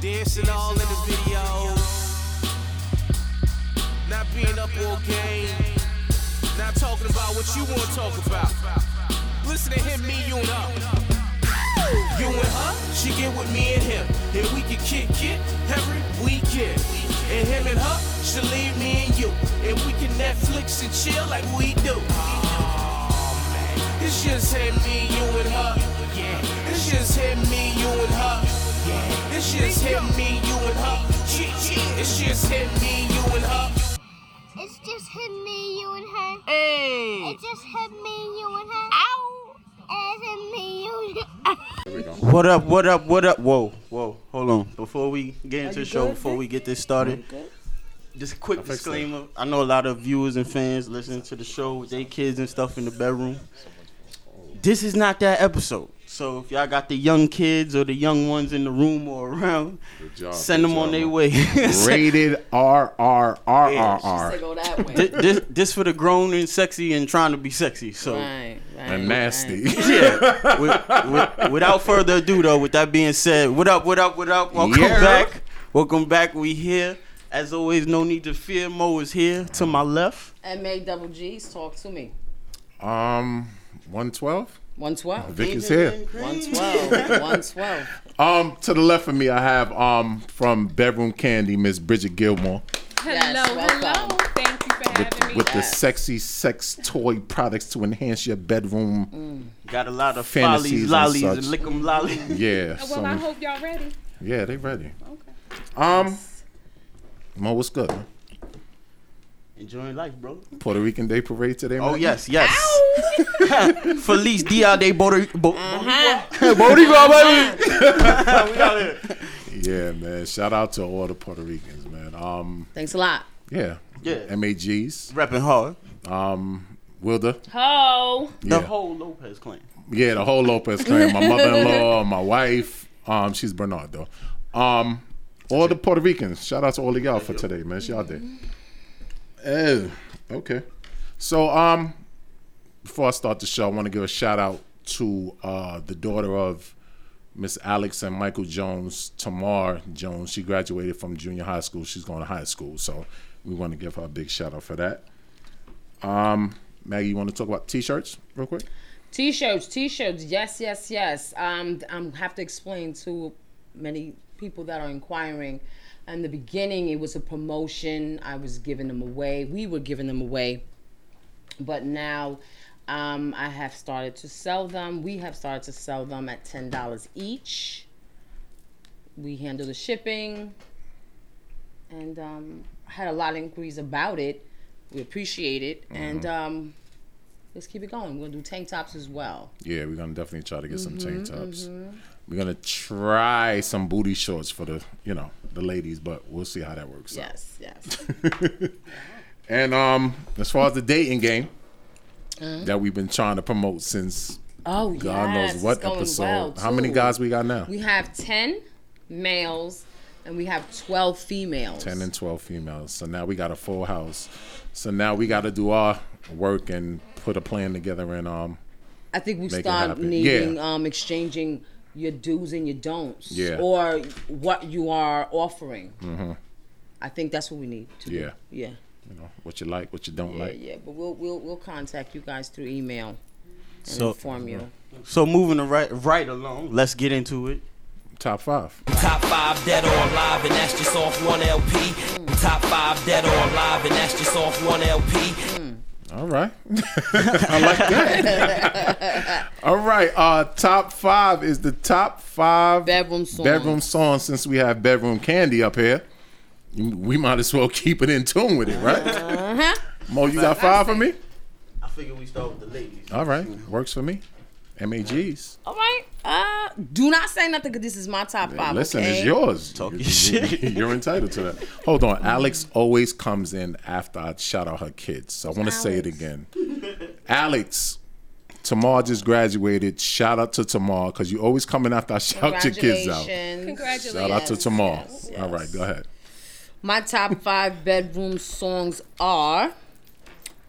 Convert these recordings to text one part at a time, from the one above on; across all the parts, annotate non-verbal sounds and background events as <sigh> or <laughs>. Dancing all in the videos. Not being up all game. Not talking about what you want to talk about. Listen to him, me, you, and up. You and her, she get with me and him. And we can kick it every weekend. And him and her, she leave me and you. And we can Netflix and chill like we do. It's just him, me, you and her. Yeah. It's just him, me, you and her. Yeah. It's just him, me, you and her. It's just him, me, you and her. It's just him, me, you and her. Hey. It's just him, me, you and her. Ow! It's him, me, you and her. What up, what up, what up? Whoa, whoa, hold on. Before we get into the show, before we get this started, just a quick disclaimer. I know a lot of viewers and fans listening to the show with their kids and stuff in the bedroom. This is not that episode. So if y'all got the young kids or the young ones in the room or around, job, send good them on job, their man. way. <laughs> Th- Rated R R R R To R. go that way. this, this for the grown and sexy and trying to be sexy. So Right, right, And nasty. right. <laughs> yeah. With- with- without further ado, though, with that being said, what up, what up, what up? Welcome Yeah. back. Welcome back. We here. As always, no need to fear. Mo is here to my left. M A double G's talk to me. Um, one twelve. One twelve. Vic is here. One twelve. One twelve. Um, to the left of me, I have um from Bedroom Candy, Miss Bridget Gilmore, Yes, Hello, hello. welcome. Thank you for having me. with the sexy sex toy products to enhance your bedroom. Mm. Got a lot of Fantasies follies, lollies, and and, such. lick 'em lollies. <laughs> Yeah. well, some- I hope y'all ready. yeah, they ready. Um, Mo, what's good? man? Enjoying life, bro. Puerto Rican Day Parade today. Oh man? yes, yes. <laughs> Feliz Dia de Border. Bo- Mm. <laughs> Boricua, baby. <laughs> we out here. Yeah, man. Shout out to all the Puerto Ricans, man. Um, Thanks a lot. yeah. Yeah. MAGs. Repping hard. Um, Wilda. Ho. Yeah. The whole Lopez clan. Yeah, the whole Lopez clan. My <laughs> mother-in-law, my wife. Um, she's Bernard though. Um, all the Puerto Ricans. Shout out to all of y'all for today, man. It's y'all day. Oh, okay. So, um, before I start the show, I want to give a shout out to uh, the daughter of Miss Alex and Michael Jones, Tamar Jones. She graduated from junior high school. She's going to high school, so we want to give her a big shout out for that. Um, Maggie, you want to talk about t-shirts real quick? T-shirts, T-shirts. Yes, yes, yes. Um, I'm have to explain to many people that are inquiring. In the beginning, it was a promotion. I was giving them away. We were giving them away, but now um, I have started to sell them. We have started to sell them at ten dollars each. We handle the shipping, and um, I had a lot of inquiries about it. We appreciate it, and um, Let's keep it going. We'll do tank tops as well. Yeah, we're gonna definitely try to get some Mm-hmm, tank tops. We're gonna try some booty shorts for the you know the ladies, but we'll see how that works. out. Yes, yes. <laughs> And um, as far as the dating game that we've been trying to promote since Oh, yes. God knows It's what going episode. well, how many too. guys we got now? We have 10 males and we have 12 females. Ten and twelve females. So now we got a full house. So now we got to do our work and put a plan together and um I think we Make it start happen. needing Yeah. um, exchanging your do's and your don'ts Yeah. or what you are offering. I think that's what we need to Mm-hmm. yeah, do. Yeah. you know what you like, what you don't Yeah, like. yeah. But we'll, we'll, we'll contact you guys through email and So- inform you. So moving the right right along, let's get into it. Top five. Top five dead or alive, and that's just off one LP. Top five dead or alive, and that's just off one LP. All right. <laughs> I like <laughs> that. All right. Uh top five is the top five Bedroom songs. bedroom songs since we have bedroom candy up here. you- We might as well <laughs> keep it in tune with it, right? <laughs> Mo, you got five for me? <laughs> I figure we start with the <laughs> ladies. All right. Works for me. MAGs. All right. Uh, do not say nothing because this is my top five. Listen, okay? it's yours. Talk You- your shit. you- <laughs> You're entitled to that. Hold on. Alex always comes in after I shout out her kids. So I want to say it Alex? again. Alex, Tamar just graduated. Shout out to Tamar because you always come in after I shout your kids out. Congratulations. Congratulations. Shout out to Tamar. yes, All right, go ahead. My top five bedroom Oh, Mm. songs are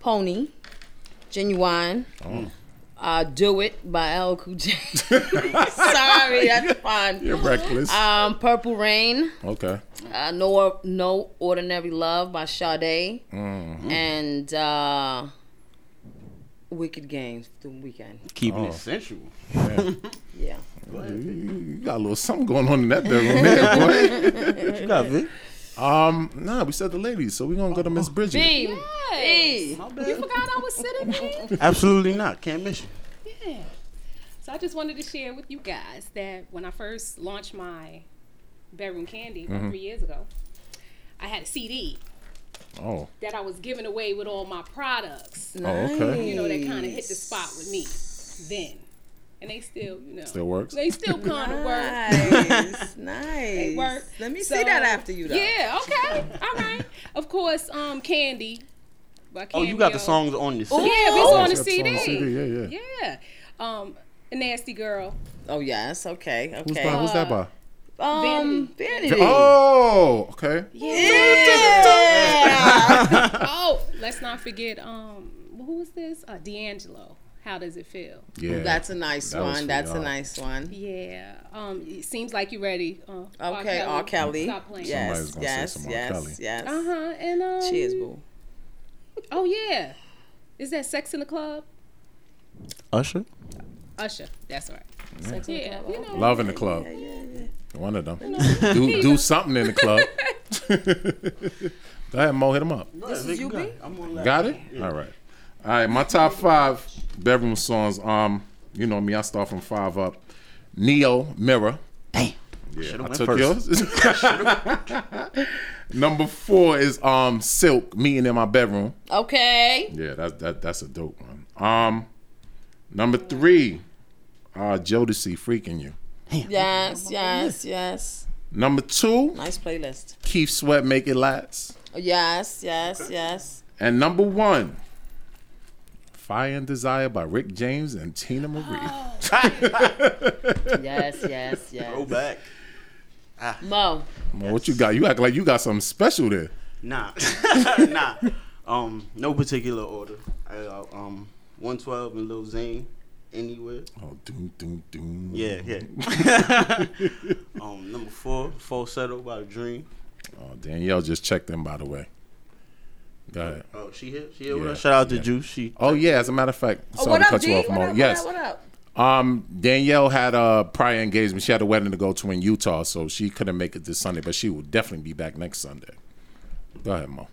Pony, Genuine, Uh, Do It by L. Cool J. <laughs> Sorry, that's You're fine. reckless. Um, Purple Rain, okay. uh, no, no Ordinary Love by Sade, Mm. and uh, Wicked Games, The Weekend. Keeping Oh. it sensual. <laughs> Yeah. You, Mm. you got a little something going on in that bedroom there, boy. What <laughs> you got, Vic? Um, nah, we said the ladies, so we're gonna go to Miss Bridget. B. B. You forgot I was sitting here. <laughs> Absolutely not. Can't miss you. Yeah. So I just wanted to share with you guys that when I first launched my bedroom candy Mm-hmm. about three years ago, I had a CD Oh, that I was giving away with all my products. oh, okay. You know, that kind of hit the spot with me then. And they still, you know, Still works. they still kind of work. <laughs> Nice. nice. work. Let me So- see that after you, though. Yeah, okay. All right. Of course, um, Candy. by Oh, you got Cambio. the songs on this. Yeah, it's on the Oh, That's on the CD, CD. Yeah, yeah. Yeah. Um, a nasty girl. Oh, yes. Okay. Who's, Okay. by, who's that by? Um, Vanity. Oh, okay. Yeah. <laughs> Oh, let's not forget. Um, who was this? Uh, D'Angelo. How does it feel? Yeah. That's a nice That was one. for That's a y'all. nice one. Yeah. Um, it seems like you're ready. Uh, R. Okay, R. Kelly. Stop playing. Somebody's Yes, gonna say yes, some R. Kelly. yes, yes. Uh huh. And um, Cheers, boo. Oh yeah. Is that Sex in the Club? Usher. Usher. That's right. Yeah. You know. Love in the club. One of them. do do something in <laughs> the club. <laughs> go ahead, Mo. Hit them up. This is you, I'm on that. Got it? All right. All right, my top five bedroom songs. Um, you know me, I start from five up. Neo, Mirror. Damn. Yeah, I went took first. yours. <laughs> Number four is um Silk, Me and in My Bedroom. Okay. Yeah, that, that that's a dope one. Um number three, uh Jodeci Freaking You. Yes, yes, yes. Number two, Nice playlist. Keith Sweat Make It Last. Yes, yes, <laughs> yes. And number one, Fire and Desire by Rick James and Tina Marie. <gasps> Yes, yes, yes. back. Ah. Mo. Well, what you got? You act like you got something special there. Nah, <laughs> nah. Um, no particular order. I, uh, um, 112 and Lil Zane. Anywhere. Oh, doom, doom, doom. Yeah, yeah. <laughs> um, number four, falsetto by the dream. Oh, Danielle just checked in, by the way. Go ahead. Oh, she here? She here with Yeah, us? Shout out to yeah. Juice. She Oh, yeah. As a matter of fact, sorry Oh, what to up, cut D? you off, what Mo. up, what yes. up, what up? Um, Danielle had a prior engagement. She had a wedding to go to in Utah, so she couldn't make it this Sunday, but she will definitely be back next Sunday. Go ahead, Mo.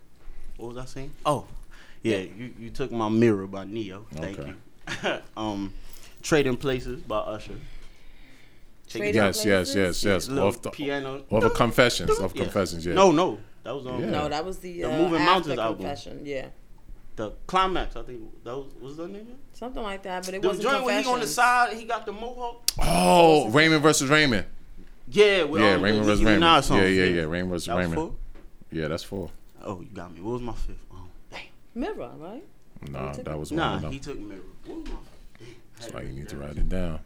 what was I saying? Oh, yeah. You, you took my mirror by Neo. Thank Okay. you. <laughs> um, trading places by Usher. Take it Trading- Yes, yes, yes, yes. Little Off the piano. off of confessions, off Yeah. confessions. Yeah. No, no, that was on Yeah. No, that was the, The uh, Moving after Mountains album. Confession. Yeah. the climax. I think that was was that nigga. Something like that, but it The wasn't joint when he on the Confessions. side, he got the mohawk. Oh, Raymond versus Raymond. Yeah, with, Yeah, um, the Raymond versus Nicki Raymond. Minaj song. Yeah, yeah, yeah. Raymond versus That was Raymond. four? Yeah, that's four. Oh, you got me. What was my fifth? Um, dang. Mirror, right? Nah, that was one. of Nah, them. he took mirror. What was my fifth? That's why you need to write it down.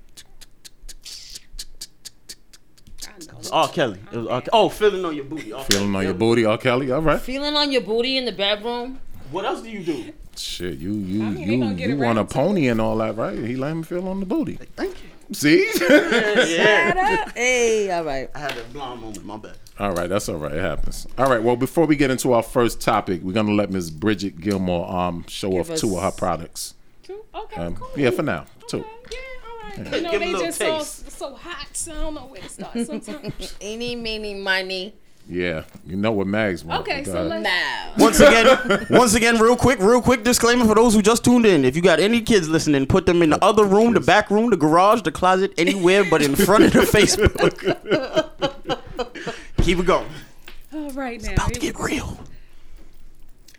R. Kelly. It was R. Kelly. Oh, feeling on your booty. R. Kelly. Feeling on your booty, R. Kelly. All right. Feeling on your booty in the bedroom. What else do you <laughs> do? Shit, you you mean, they gonna you get you want a around to pony and all that, right? He let him feel on the booty. Thank you. See? Yeah. hey, all right. I had a blonde moment. My bad. <laughs> all right, that's all right. It happens. All right. Well, before we get into our first topic, we're gonna let Miss Bridget Gilmore um show Give off two of us- her products. Two? Okay. Um, cool. yeah, for now, two. Okay, yeah, all right. You know, Give 'em a they little just so, taste. so hot, so I don't know where to start <laughs> sometimes. Any, meeny, money. Yeah, you know what Mags want. Okay, so let's- God. Now. Once <laughs> again, once again, real quick, real quick disclaimer for those who just tuned in. If you got any kids listening, put them in the other room, the back room, the garage, the closet, anywhere but in front of the Facebook. <laughs> Keep it going. all Oh, right now. About to it get real.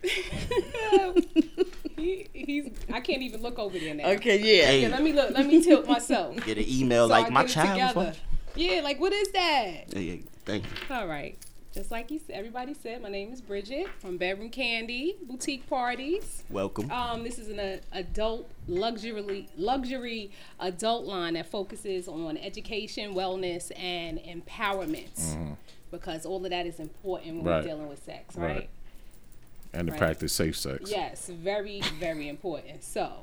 <laughs> he, he's, I can't even look over there now. Okay, yeah. Yeah, let me look. Let me tilt <laughs> myself. Get an email So I like my get it child. was together. watching. Yeah, like what is that? Yeah, yeah, thank you. All right. Just like you said, everybody said, my name is Bridget from Bedroom Candy Boutique Parties. Welcome. Um, this is an uh, adult luxury luxury adult line that focuses on education, wellness, and empowerment. Because all of that is important when Mm-hmm. Right. we're dealing with sex, Right. right? and to Right. practice safe sex. Yes, very, very important. So,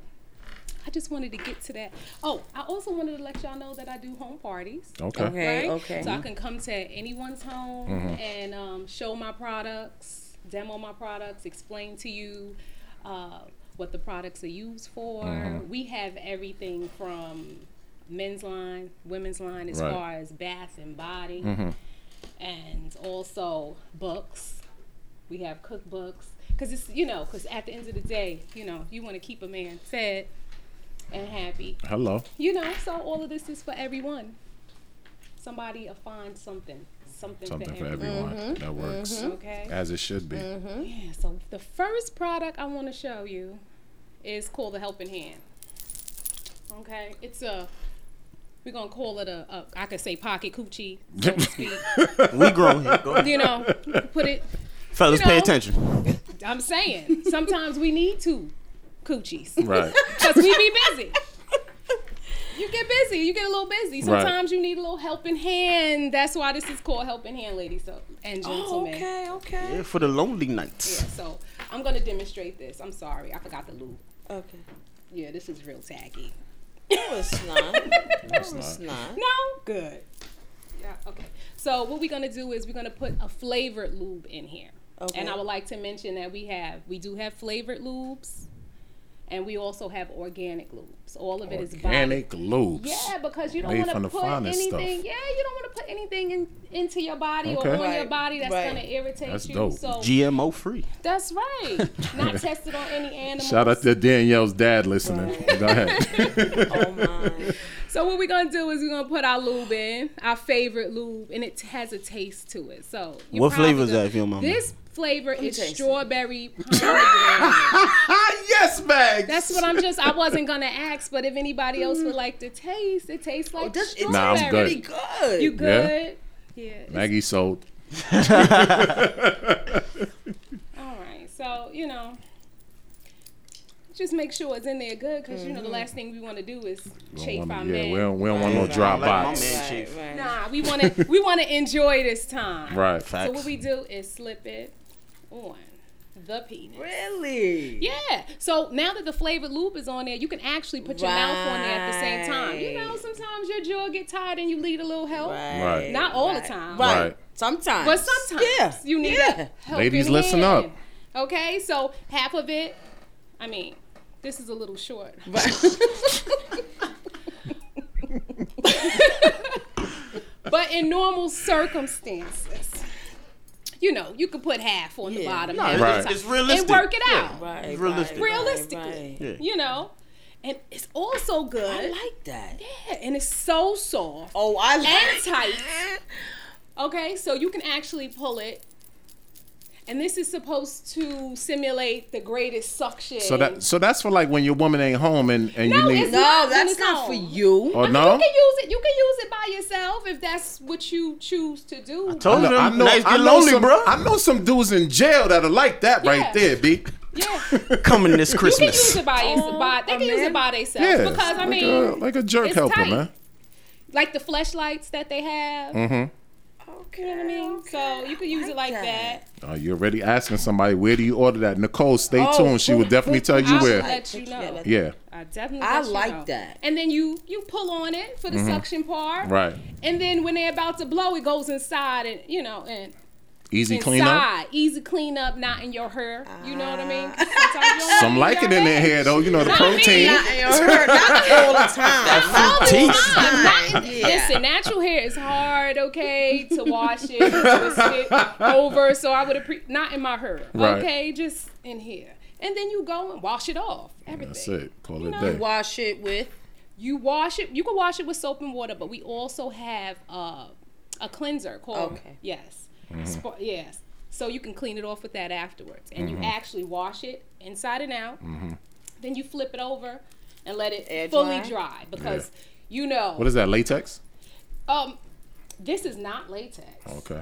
I just wanted to get to that. Oh, I also wanted to let y'all know that I do home parties. Okay. Mm-hmm. Okay, right? okay. Mm-hmm. So I can come to anyone's home and um, show my products, demo my products, explain to you uh, what the products are used for. Mm-hmm. We have everything from men's line, women's line, as Right. far as bath and body, Mm-hmm. and also books. We have cookbooks because it's you know because at the end of the day, you know, you want to keep a man fed and happy Hello. you know, so all of this is for everyone. Somebody will find something, something, Something for for everyone. everyone. That works. Okay. Mm-hmm. As it should be. Mm-hmm. Yeah. So the first product I want to show you is called the Helping Hand. Okay. It's a we're gonna call it a, a I could say pocket coochie, so to speak. <laughs> We grown here. Go ahead. you know, put it. Fellas, You know. pay attention. I'm saying sometimes we need to coochies. <laughs> Right. Because we be busy. You get busy. You get a little busy. Right. Sometimes you need a little helping hand. That's why this is called helping hand, ladies so, and Oh, gentlemen. okay, okay. Yeah, for the lonely nights. Yeah, so I'm gonna demonstrate this. I'm sorry, I forgot the lube. Okay. Yeah, this is real tacky. No, it's not. No, it's not. No, good. Yeah, okay. So what we're gonna do is we're gonna put a flavored lube in here. Okay. And I would like to mention that we have we do have flavored lubes, and we also have organic lubes. All of it is body Organic loops. Yeah, because you don't Made want from to the put finest anything. stuff. Yeah, you don't want to put anything in, into your body Okay. or on your Right, body that's right. gonna irritate That's you. dope. So GMO free. that's right. <laughs> Not tested on any animals. <laughs> Shout out to Danielle's dad listening. Go ahead. Oh my. <laughs> So what we're gonna do is we're gonna put our lube in, our favorite lube, and it has a taste to it. So you What probably flavor is gonna- that, if you don't mind me? This flavor is taste it. <laughs> strawberry pomegranate. yes, bag. That's what I'm just. I wasn't gonna ask, but if anybody else would like to taste, it tastes like Oh, does- it strawberry. Nah, I'm good. Pretty good. You Yeah? good? Yeah. it's Maggie sold. <laughs> All right, so you know, just make sure it's in there good, because you know the last thing we want to do is Mm-hmm. We chafe don't our wanna- yeah, man. we don't, we don't want no Right, dry like my box. man. right, Chief. right. Nah, we want to we want to enjoy this time. Right. So what Facts. we do is slip it on the penis. Really? Yeah. So now that the flavored lube is on there, you can actually put your mouth on there at the same time. You know, Right. sometimes your jaw get tired and you need a little help. Right. Not all the time. Right. Right. Sometimes. But sometimes Yeah. you need yeah. a helping Ladies, listen hand. up. Okay, so half of it, I mean, this is a little short. <laughs> but in normal circumstances, you know, you could put half on the Yeah. bottom. No, half Right. it's, on it's top, realistic. And work it out. Right. It's right, realistic. right, Realistically. right. Yeah. You know? And it's also good. I like that. Yeah, and it's so soft Oh, I like and tight. Okay, so you can actually pull it. And this is supposed to simulate the greatest suction. So that so that's for like when your woman ain't home and, and No, you it's need not. No, when that's it's not for on. you. I or mean, no. You can use it. You can use it by yourself if that's what you choose to do. Told I know- you, I know, nice I get know lonely, some, bro. I know some dudes in jail that are like that Yeah. right there, B. yeah, <laughs> coming this you can use Christmas. it by yourself. By, they can use it man. by themselves Yeah, because I like mean, a, like a jerk it's helper, tight. man. Mm-hmm. like the fleshlights that they have. Okay. You know what I mean? So you can use it like that. Oh, you're already asking somebody where do you order that? Nicole, stay Oh, tuned. She will put- definitely put- tell you I will where. let you know. Yeah, I definitely. I let you like know. that. And then you you pull on it for the suction part. Mm-hmm. right. And then when they're about to blow, it goes inside and you know and Easy clean up. inside, easy clean up, not in your hair. You know what I mean? Ah. 'Cause sometimes you don't Some wanna like be it in your their hair. hair though. You know the protein. Not in your hair, not <laughs> all the time. All the Teeth. time. Not- <laughs> Yeah. Listen, natural hair is hard, okay, to wash it, twist it over. So I would appre- not in my hair, Right. okay, just in here. And then you go and wash it off. Everything. That's it. Call it know, day. Wash it with. you wash it. You can wash it with soap and water, but we also have uh, a cleanser called Okay. yes, Mm-hmm. Spa- yes. So you can clean it off with that afterwards, and Mm-hmm. you actually wash it inside and out. Mm. Mm-hmm. Then you flip it over and let it Air fully dry? dry, because you know What is that? Latex? um this is not latex. Okay.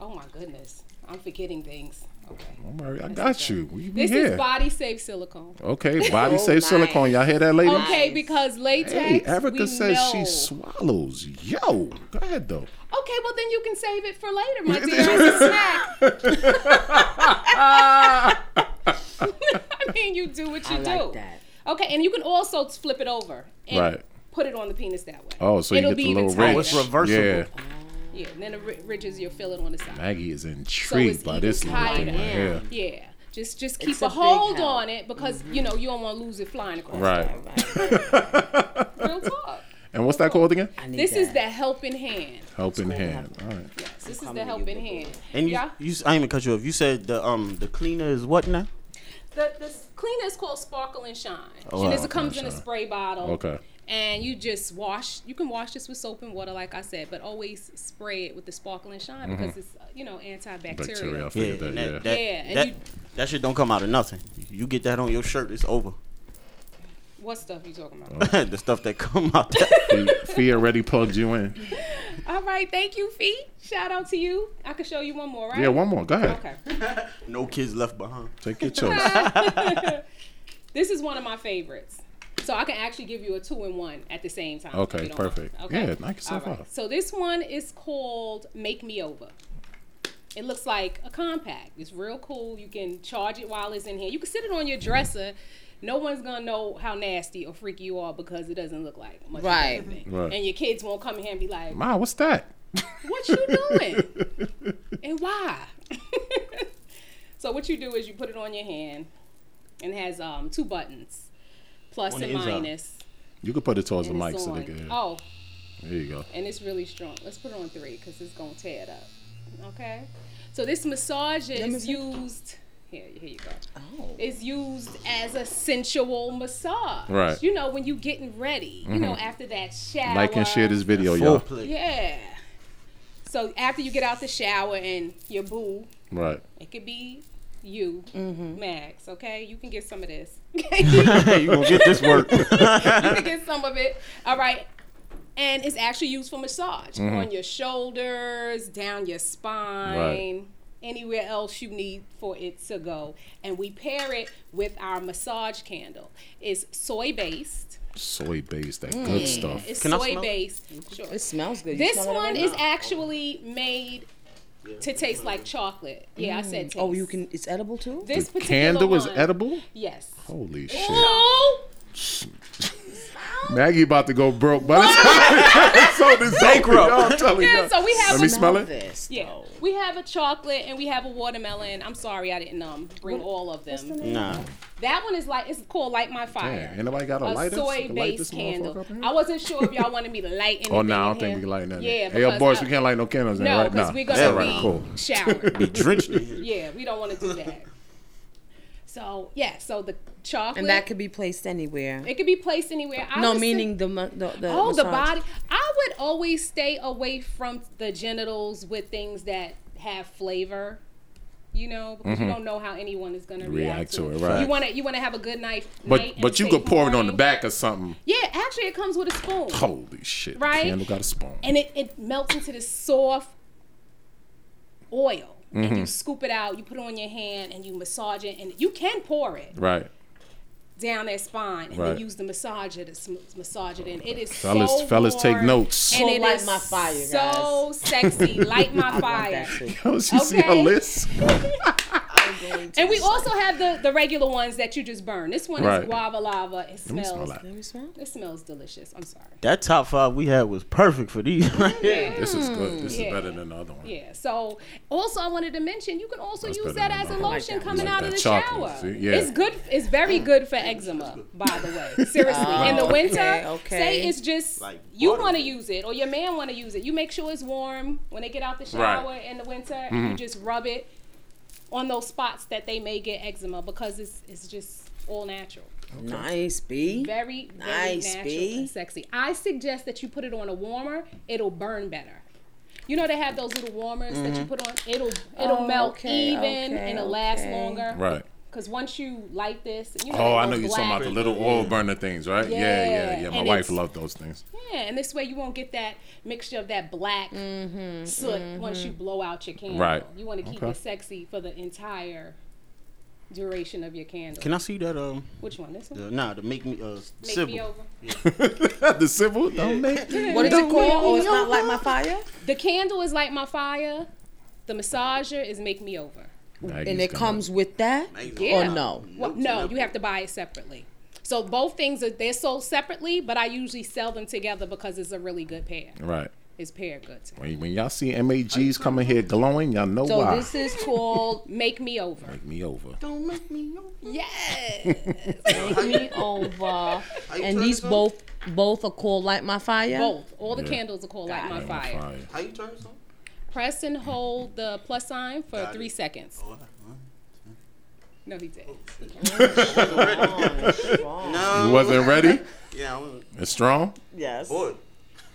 Oh my goodness, I'm forgetting things. Okay, Don't worry, I got you. We be this here. is body safe silicone. okay, <laughs> <laughs> body Oh, safe nice. silicone. Y'all hear that, lady? Okay, because latex. Hey, Erica we says she know- swallows. Yo, go ahead though. Okay, well then you can save it for later, my dear. As a snack. <laughs> I mean, you do what you I do. like that. Okay, and you can also flip it over and Right. put it on the penis that way. Oh, so you It'll get be the even little tighter. ridge. it's reversible. Yeah. Yeah, and then the ri- ridges you'll feel it on the side. Maggie is intrigued So it's by this even little thing right tighter. here. Yeah. Just just keep It's a, a big help. hold Mm-hmm. on it because you know you don't want to lose it flying <laughs> across. Right. Real talk. <laughs> And what's Oh, that called again? I need This that. is the helping hand. Helping hand. All right. Yes, this is the helping hand. And you, yeah. you, I ain't even cut you off. You said the um the cleaner is what now? The the cleaner is called Sparkle and Shine. Oh, and wow, this comes in a Shine. spray bottle. Okay. And you just wash. You can wash this with soap and water, like I said, but always spray it with the Sparkle and Shine because it's uh, you know Mm-hmm. Bacteria. I antibacterial. figured and that, that. Yeah. that, Yeah, and that, you- that shit don't come out of nothing. You get that on your shirt, it's over. What stuff you talking <laughs> about? the stuff that come out. That, Fee- Fee already plugged you in. All right, thank you, Fee. Shout out to you. I can show you one more, right? Yeah, one more. Go ahead. Okay. no kids left behind. Take your choice. This is one of my favorites. So I can actually give you a two and one at the same time. if Okay, you don't mind. perfect. Yeah, knock yourself All right. out. So this one is called Make Me Over. It looks like a compact. It's real cool. You can charge it while it's in here. You can sit it on your dresser. No one's gonna know how nasty or freaky you are because it doesn't look like much. of Right. anything. Right. And your kids won't come in here and be like, Ma, what's that? what you doing and why <laughs> so what you do is you put it on your hand and it has um two buttons plus On the and inside. minus You could put it towards the and mic it's so they on. can hear. oh There you go. and it's really strong let's put it on three because it's gonna tear it up okay so this massager is used here, here you go Oh. is used as a sensual massage Right. you know when you getting ready you know after that shower Like and share this video, y'all. Foreplay. yeah. So after you get out the shower and your boo, Right. it could be you, Mm-hmm. Max. Okay, you can get some <laughs> of this. <laughs> Hey, you gonna get this work? <laughs> you can get some of it. All right. And it's actually used for massage Mm-hmm. on your shoulders, down your spine, anywhere else you need for it to go. And we pair it with our massage candle. It's soy based. Soy base, that good stuff. Mm. It's Can I smell soy it? based. Sure. It smells Mm-hmm. good. You This smell it one right is now? actually made to taste like chocolate. Yeah, I said taste. Oh, you can. It's edible too. This The particular candle is one- edible? Yes. Holy shit. Oh, <gasps> Maggie about to go broke by the <laughs> time so this bankrupt. I'm telling yeah. you. So we have Let me a, smell it. This. yeah, we have a chocolate and we have a watermelon. I'm sorry, I didn't um bring all of them. nah. That one is like it's called Light My Fire. Damn, ain't nobody got a a, lighter? so we soy can light this based motherfucker candle. up here? I wasn't sure if y'all wanted me to light anything. Oh, no, I in don't think we here. can light nothing. Yeah, hey, yo, because, boys, uh, we can't light no candles in No, right because now. we're Yeah, gonna right, be cool. <laughs> showered. Be drenched. in <laughs> it. Yeah, we don't want to do that. So yeah, so the chocolate And that could be placed anywhere. it could be placed anywhere. I no, would say- meaning the mu- the, the oh the massage. body. I would always stay away from the genitals with things that have flavor. You know, because you don't know how anyone is gonna react, Mm-hmm. React to to it. it, right. You want to you want to have a good night. night But and but you safe could pour it on the morning. back or something. Yeah, actually, it comes with a spoon, Holy shit. the Right? Candle got a spoon. and it it melts into this soft oil. And Mm-hmm. Mm. you scoop it out, you put it on your hand, and you massage it, and you can pour it. right. down their spine and Right. they use the massager to sm- massage it in. It is Fellas- so fellas, take warm, notes. And Well, it light is my fire, guys. so <laughs> sexy. Light my fire. That too. Oh, she see her Okay. list? and we also have the, the regular ones that you just burn. This one Right. is guava lava. It Let me smells. smell that. Let me smell. it. It smells delicious. I'm sorry. <laughs> That top five we had was perfect for these. Right here. This is good. This Yeah. is better than the other one. Yeah. So also I wanted to mention you can also That's use better that as than a mine. I like lotion that. coming Like out of that the chocolate, shower. see? Yeah. Mm. It's good it's very good for eczema, by the way. <laughs> Seriously. In the winter, okay, Oh, okay. say it's just Like you butter. want to use it or your man want to use it. You make sure it's warm when they get out the Right. shower in the winter Mm-hmm. and you just rub it on those spots that they may get eczema because it's it's just all natural. Nice, B. Very, very Nice, natural B. and sexy. I suggest that you put it on a warmer. It'll burn better. You know they have those little warmers that you put on. It'll it'll Mm-hmm. Oh, melt okay, even okay, and it'll last okay. longer. Right. Cause once you light this, you know. Oh, they I go know you're talking black. about the little oil burner things, right? Yeah, yeah, yeah. Yeah, My and wife it's- loved those things. Yeah, and this way you won't get that mixture of that black Mm-hmm, soot once you blow out your candle. Right. You want to keep Okay. it sexy for the entire duration of your candle. Can I see that? Um, Which one? This one. the, nah, to make me uh Make civil. me <laughs> over. the civil <laughs> don't make What is it called? Oh, it's not like my fire. The candle is light my fire. The massager is make me over. Maggie's And it gonna- comes with that. Amazing. Yeah. Or no. Well, no, you have to buy it separately. So both things are they're sold separately, but I usually sell them together because it's a really good pair. Right. It's paired goods. When, when y'all see MAGs coming here mm-hmm. glowing, y'all know So why. this is Called Make Me Over. Make me over. Yes. me over, you oh. and turn these this on? both both are called Light My Fire. Both. All the Yeah. candles are called Light My Light my Fire. fire. How you turn this on? Press and hold the plus sign for it. three seconds. Oh, No, he did. You Oh, No. wasn't ready? Yeah, I was It's strong? Yes. bored.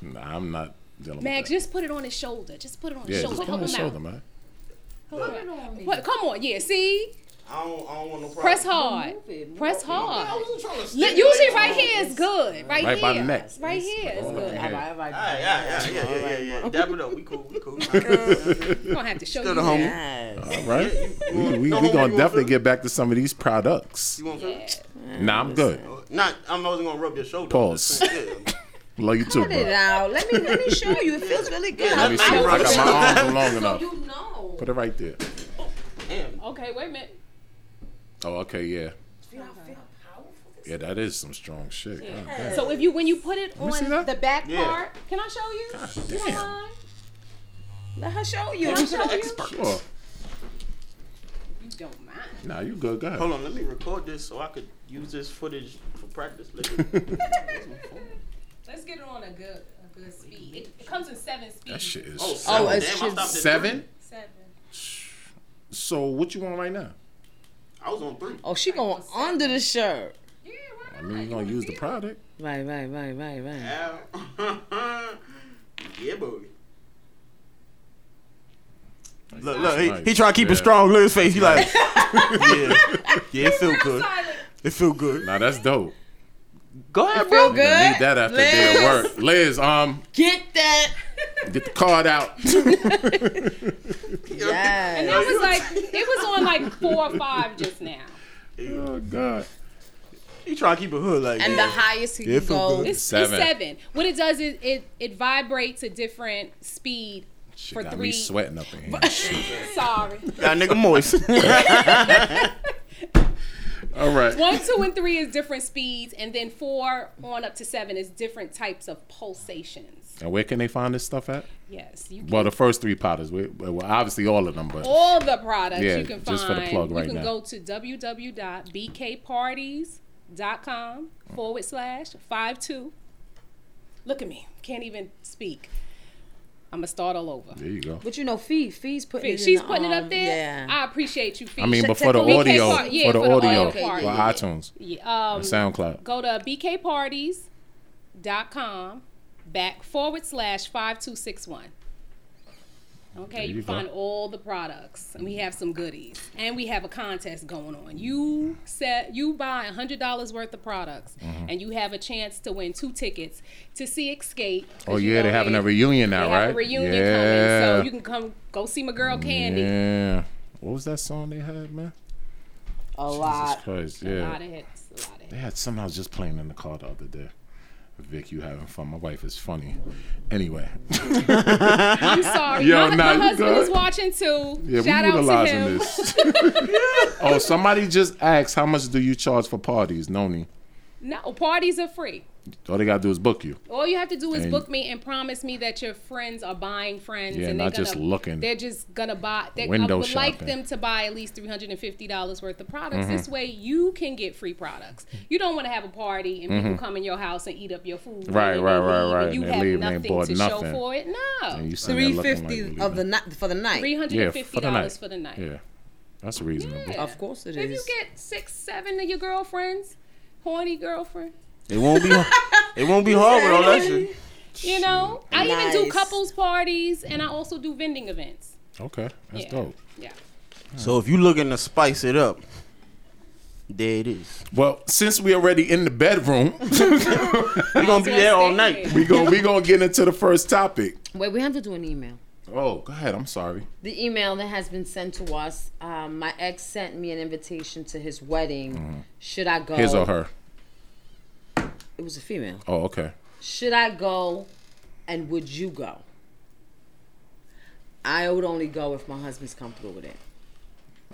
Nah, I'm not dealing with Mag, that. just put it on his shoulder. Just put it on his yeah, shoulder. just put it on the Help him out. shoulder, <laughs> man. What, come on, yeah. See, I don't, I don't want no problem. press hard. Press I hard. wasn't trying to Li- stimulate Usually, you. right here is good. Right, Right here. by the neck. Right here is good. Yeah. All right, Ah, yeah, yeah, yeah, yeah, yeah, yeah. Dab it up. We cool, we <laughs> cool. All right. I'm gonna have to show you. the that. homie. All right. You We, want- no, we, we homie, gonna you want definitely food? get back to some of these products. You want food? Nah, I'm good. Not, I'm not gonna rub your shoulder. Pause. Yeah. Love <laughs> you too, Put it bro. out. Let me let me show you. It feels really good. Let me see if I got my arms long enough. You know. Put it right there. Damn. Okay, wait a minute. Oh, okay, yeah. Yeah, that is some strong shit. God damn. So if you when you put it me see on that. the back Yeah. part, can I show you? You don't damn. mind? Let her show you. Sure. You don't mind. <laughs> Nah, you good, go ahead. Hold on, let me record this so I could use this footage for practice later. <laughs> Let's get it on a good a good speed. It, it comes in seven speed. That shit is Oh, seven. seven. Damn, I it's just- stopped at three. seven. Seven. So what you on right now? I was on three. Oh, she going under the shirt. Yeah, why not? I mean, you gonna use the product? Right, right, right, right, right. Ow. <laughs> yeah, boy. Look, look, he, Nice. he trying to keep it Yeah. strong. Look at his face. He like, <laughs> yeah, yeah, it feel good. Silent. It feel good. Nah, that's dope. Go ahead, bro. Feel Need good? that after day of Liz. work. Liz, um, Get <laughs> that. get the card out. Yes. That was like it was on like four or five just now. oh God. He trying to keep it hood <laughs> like. And the highest he Yeah, can it feel go. good. It's Seven. seven. It's seven. What it does is it it vibrates a different speed. She For got three- me sweating up in here. Shit. Sorry. that nigga moist. <laughs> <laughs> All right. One, two, and three is different speeds, and then four on up to seven is different types of pulsations. And where can they find this stuff at? Yes, you can, Well, the first three powders. We, well, obviously all of them, but all the products Yeah, you can find. just for the plug right you can now. go to www.bkparties.com forward slash five two. Look at me, can't even speak. I'm gonna start all over. there you go. But you know, Fee, Fee's putting it in She's the, putting it um, up there. Yeah. I appreciate you. Fee. I mean, but for check the the audio, BK part. Yeah, for the for the audio, audio part. for Yeah. iTunes, Yeah, um, SoundCloud. go to bkparties.com back forward slash 5261 okay you, you go. find all the products and we have some goodies and we have a contest going on you set you buy $100 worth of products Mm-hmm. and you have a chance to win two tickets to see escape 'cause Oh you yeah, know they're having a they- reunion now, they right? have a reunion yeah. coming so you can come go see my girl candy Yeah. What was that song they had, man? A Jesus lot. <laughs> Christ. a Yeah. lot of hits a lot of They hits had something I was just playing in the car the other day. Vic, you having fun? My wife is funny. Anyway, <laughs> i'm sorry Yo, my, nah, you my husband good. is watching too yeah, shout we out to utilizing him this. <laughs> oh, somebody just asked, how much do you charge for parties, Noni? <laughs> No, parties are free. All they gotta do is book you. All you have to do is And- book me and promise me that your friends are buying friends. Yeah, and not they're just gonna- looking. They're just gonna buy. They, I Window would like shopping. Mm-hmm. them to buy at least three hundred and fifty dollars worth of products. This way, you can get free products. You don't want to have a party and people come in your house and eat up your food. and Mm-hmm. Right, then right, they right, leave right, And you and they have leave and they nothing bought to show nothing. for it. No, And you sitting there Three looking fifty like, of the night for the night. three hundred yeah and fifty dollars for the night. Yeah, that's reasonable. Yeah. Of course it If you is. get six, seven of your girlfriends, horny girlfriend. it won't be. <laughs> It won't be hard with all that shit. You know, I even do Nice. couples parties and I also do vending events. Okay, that's yeah. dope. Yeah. So if you looking to spice it up, there it is. Well, since we already in the <laughs> bedroom, We gonna be there all night. we going we gonna get into the first topic. Wait, we have to do an email. Oh, go ahead. I'm sorry. the email that has been sent to us. Um, my ex sent me an invitation to his wedding. Should I go? Mm-hmm. His or her? It was a female. Oh, okay. Should I go? And would you go? I would only go if my husband's comfortable with it.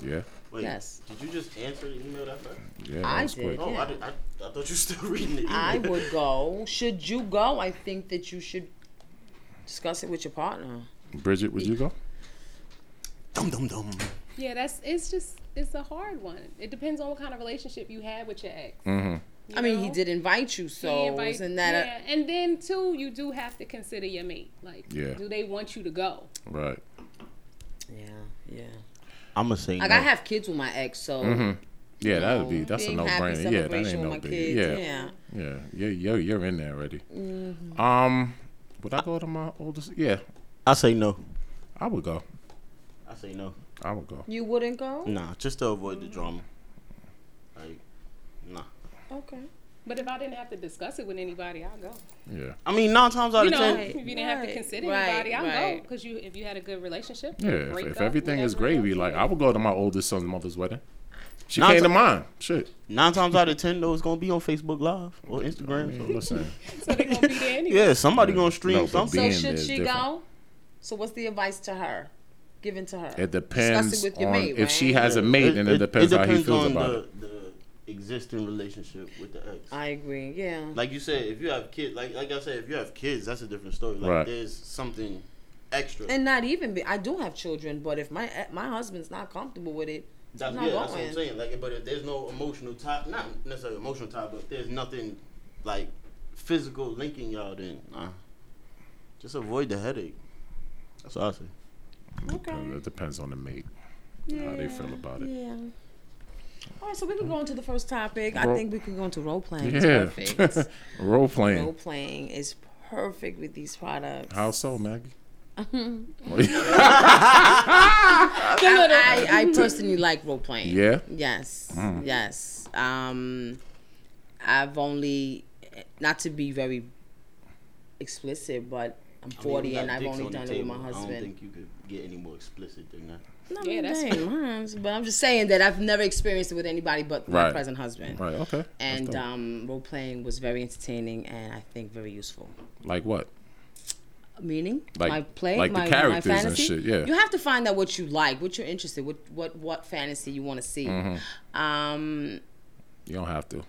Yeah. Wait, <laughs> Yes. Did you just answer the email that fast? Yeah, I that was did. quick. Oh, Yeah. I, did, I, I thought you were still <laughs> reading the email. I would go. Should you go? I think that you should discuss it with your partner. Bridget, would you go? Dum dum dum. Yeah, that's it's just it's a hard one. It depends on what kind of relationship you had with your ex. Mm-hmm. You I mean, he know? did invite you, so He invite- isn't that uh, a- yeah. and then too, you do have to consider your mate. Like, Yeah. do they want you to go? Right. yeah, yeah. I'm gonna say Like no. I have kids with my ex, so Mm-hmm. Yeah, that'd be that's a being no happy brainer. Yeah, that celebration ain't with no my big. kids. yeah. yeah. Mm-hmm. Yeah, yeah, yo, you're in there already. Um, would I go to my oldest? Yeah, I say no. I would go. I say no. I would go. You wouldn't go? Nah, just to avoid the drama. Like, nah. Okay. But if I didn't have to discuss it with anybody, I'll go. Yeah, I mean, nine times out You of know, if ten. you didn't have to right, consider right, anybody, I'll go. right. Because you, if you had a good relationship, yeah. If, break if up, everything is whatever gravy, else. like I would go to my oldest son's mother's wedding. She Not came to- to mine. Shit. Nine times out of ten, though, it's gonna be on Facebook Live or Instagram. So so- listen, so they gonna be there anyway. Yeah, somebody gonna stream No, but something. being So there should is she different. go? So what's the advice to her? Given to her. it depends with your on mate, if she right? has a mate, and it, depends, how he feels on about the, it. the existing relationship with the ex. I agree. Yeah. like you said, if you have kids, like like I said, if you have kids, that's a different story. Like Right. there's something extra. and not even be, I do have children, but if my eh, my husband's not comfortable with it, that's, I'm yeah, not that's what I'm going. saying. Like, but if there's no emotional tie, not necessarily emotional tie, but if there's nothing like physical linking y'all, then nah. Just avoid the headache. That's what I say. Uh, It depends on the mate, how they feel about it. yeah. All right, so we can go into the first topic. I Ro- think we can go into role playing. It's Yeah, perfect. <laughs> role role playing. playing is perfect with these products. How so, Maggie? I, I personally like role playing. Yeah? Mm. Yes. Yes. Um, I've only, not to be very explicit, but I'm 40 We got and I've dicks only on the done it with table. my I don't husband. think you could get any more explicit than that. No, yeah, Yeah, that's- that's But I'm just saying that I've never experienced it with anybody but my Right. present husband. Right. Okay. That's And dope. um, role playing was very entertaining and I think very useful. like what? meaning Like- my play like the my, characters my and fantasy shit, yeah. you have to find out what you like what you're interested what what what fantasy you want to see Mm-hmm. um mm. You don't have to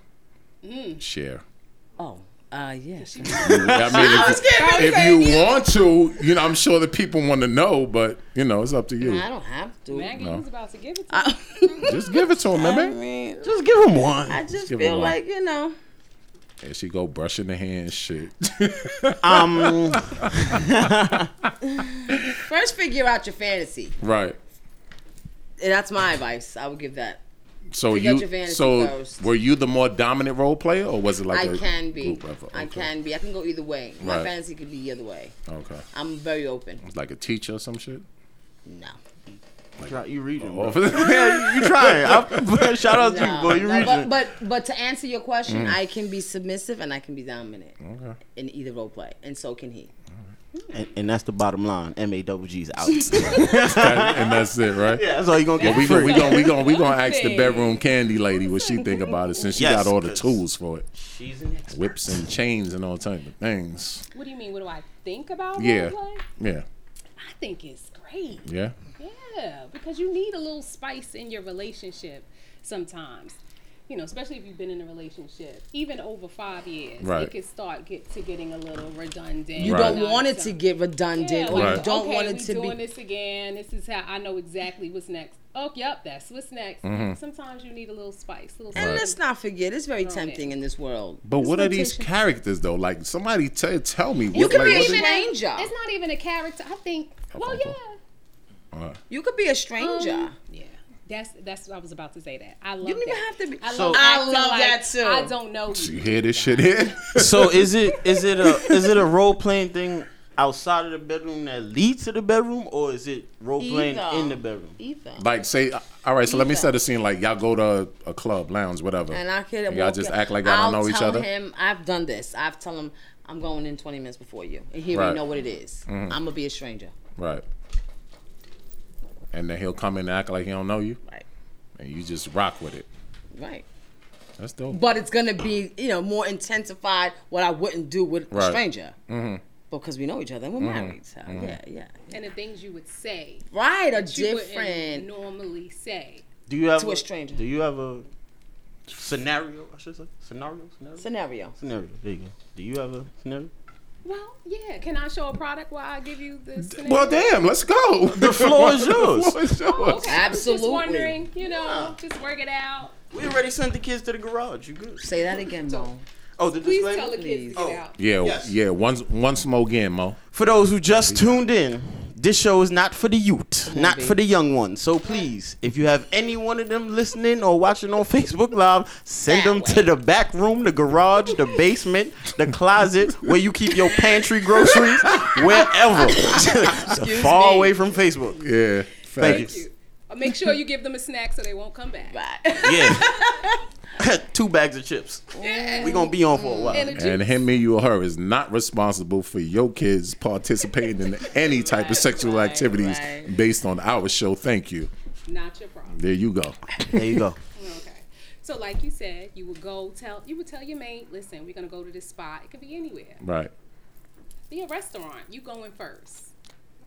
share. oh uh yes <laughs> I <laughs> mean, if, if you want to, you know, I'm sure the people want to know, but you know, it's up to you. i don't have to Maggie No. was about to give it to I, <laughs> Just give it to him, man. I man. mean Just give him one. i just give it feel one. like you know And she go brushing the hand, shit. <laughs> Um, first figure out your fantasy <laughs> right. And that's my advice i would give that So Figure out you, your fantasy so first. were you the more dominant role player, or was it like i a can be group effort? i Okay. can be i can go either way my Right. fantasy could be the other way Okay, i'm very open <laughs> like a teacher or some shit. no you reading? Oh, bro. <laughs> yeah, you <laughs> trying? I, shout out to you, No, boy. You no, reading? but, but but to answer your question, Mm. I can be submissive and I can be dominant in either role play, and so can he. and, and that's the bottom line. M A double G's out. <laughs> That- and that's it, right? Yeah, that's all you gonna get. We for gonna free. we gonna we gonna we gonna ask the <laughs> Nothing. bedroom candy lady what she think about it since she Yes, got all the 'cause- tools for it, She's an expert. whips and chains and all type of things. you. What do you mean? What do I think about role Yeah. play? Yeah, I think it's great. yeah. Yeah, because you need a little spice in your relationship sometimes. You know, especially if you've been in a relationship, even over five years, Right. it could start get to getting a little redundant. You Right. don't want it to get redundant, Yeah, or Right. you don't okay, want we it to doing be. this again. This is how I know exactly what's next. Oh, yep, that's what's next. Mm-hmm. Sometimes you need a little spice, a little. And spice. let's not forget, it's very tempting in this world. But what are these temptation. characters though? Like somebody tell tell me. What, You can like, be a what even is- a- stranger. It's not even a character. I think. Well, okay. yeah. You could be a stranger. Um, yeah. That's that's what I was about to say. That I love. you don't even that. have to be. I love, So- I acting love like that too. I don't know. you You. hear this shit here? <laughs> So is it is it a is it a role playing thing outside of the bedroom that leads to the bedroom, or is it role playing Either. in the bedroom? Either. like say, uh, all right. So let me Either. set a scene. Like y'all go to a club, lounge, whatever. And I could. And y'all walk just in- act like y'all don't I'll know each tell other. Him, I've done this. I've tell him I'm going in 20 minutes before you, and he Right. Mm. already know what it is. I'm gonna be a stranger. Right. And then he'll come in and act like he don't know you, Right. and you just rock with it. Right. That's dope. but it's gonna be you know more intensified what I wouldn't do with Right. Mm-hmm. a stranger because we know each other and we're married. So yeah, yeah, And the things you would say right. A that you wouldn't different. normally say. Do you ever To a stranger. Do you have a scenario? I should say scenario. Scenario. Scenario. scenario. There you go. Do you have a scenario? Well, yeah. Can I show a product while I give you the scenario? Oh, Well, damn, let's go. <laughs> The floor is yours. floor is yours. Okay, I was Absolutely. Just wondering, you know, just work it out. We already sent the kids to the garage. You good? Say that again, Mo. Oh, the Please display. tell the kids to Oh. get out. Yeah, Yes. yeah. Once, once more again, Mo. For those who just tuned in, this show is not for the youth, not for the young ones. So please, if you have any one of them listening or watching on Facebook Live, send them to the back room, the garage, the basement, the closet, where you keep your pantry groceries, wherever. Far me. away from Facebook. Yeah. Thank facts. you. Uh, Make sure you give them a snack so they won't come back. <laughs> Yeah. <laughs> Two bags of chips. Yeah. we going to be on for a while. And a And juice. him, me, you, or her is not responsible for your kids participating in any type of sexual activities right. based on our show. Thank you. Not your problem. There you go. There you go. Okay. So like you said, you would go tell you would tell your mate, listen, we're gonna go to this spot. It could be anywhere. Right. Be a restaurant. You going first.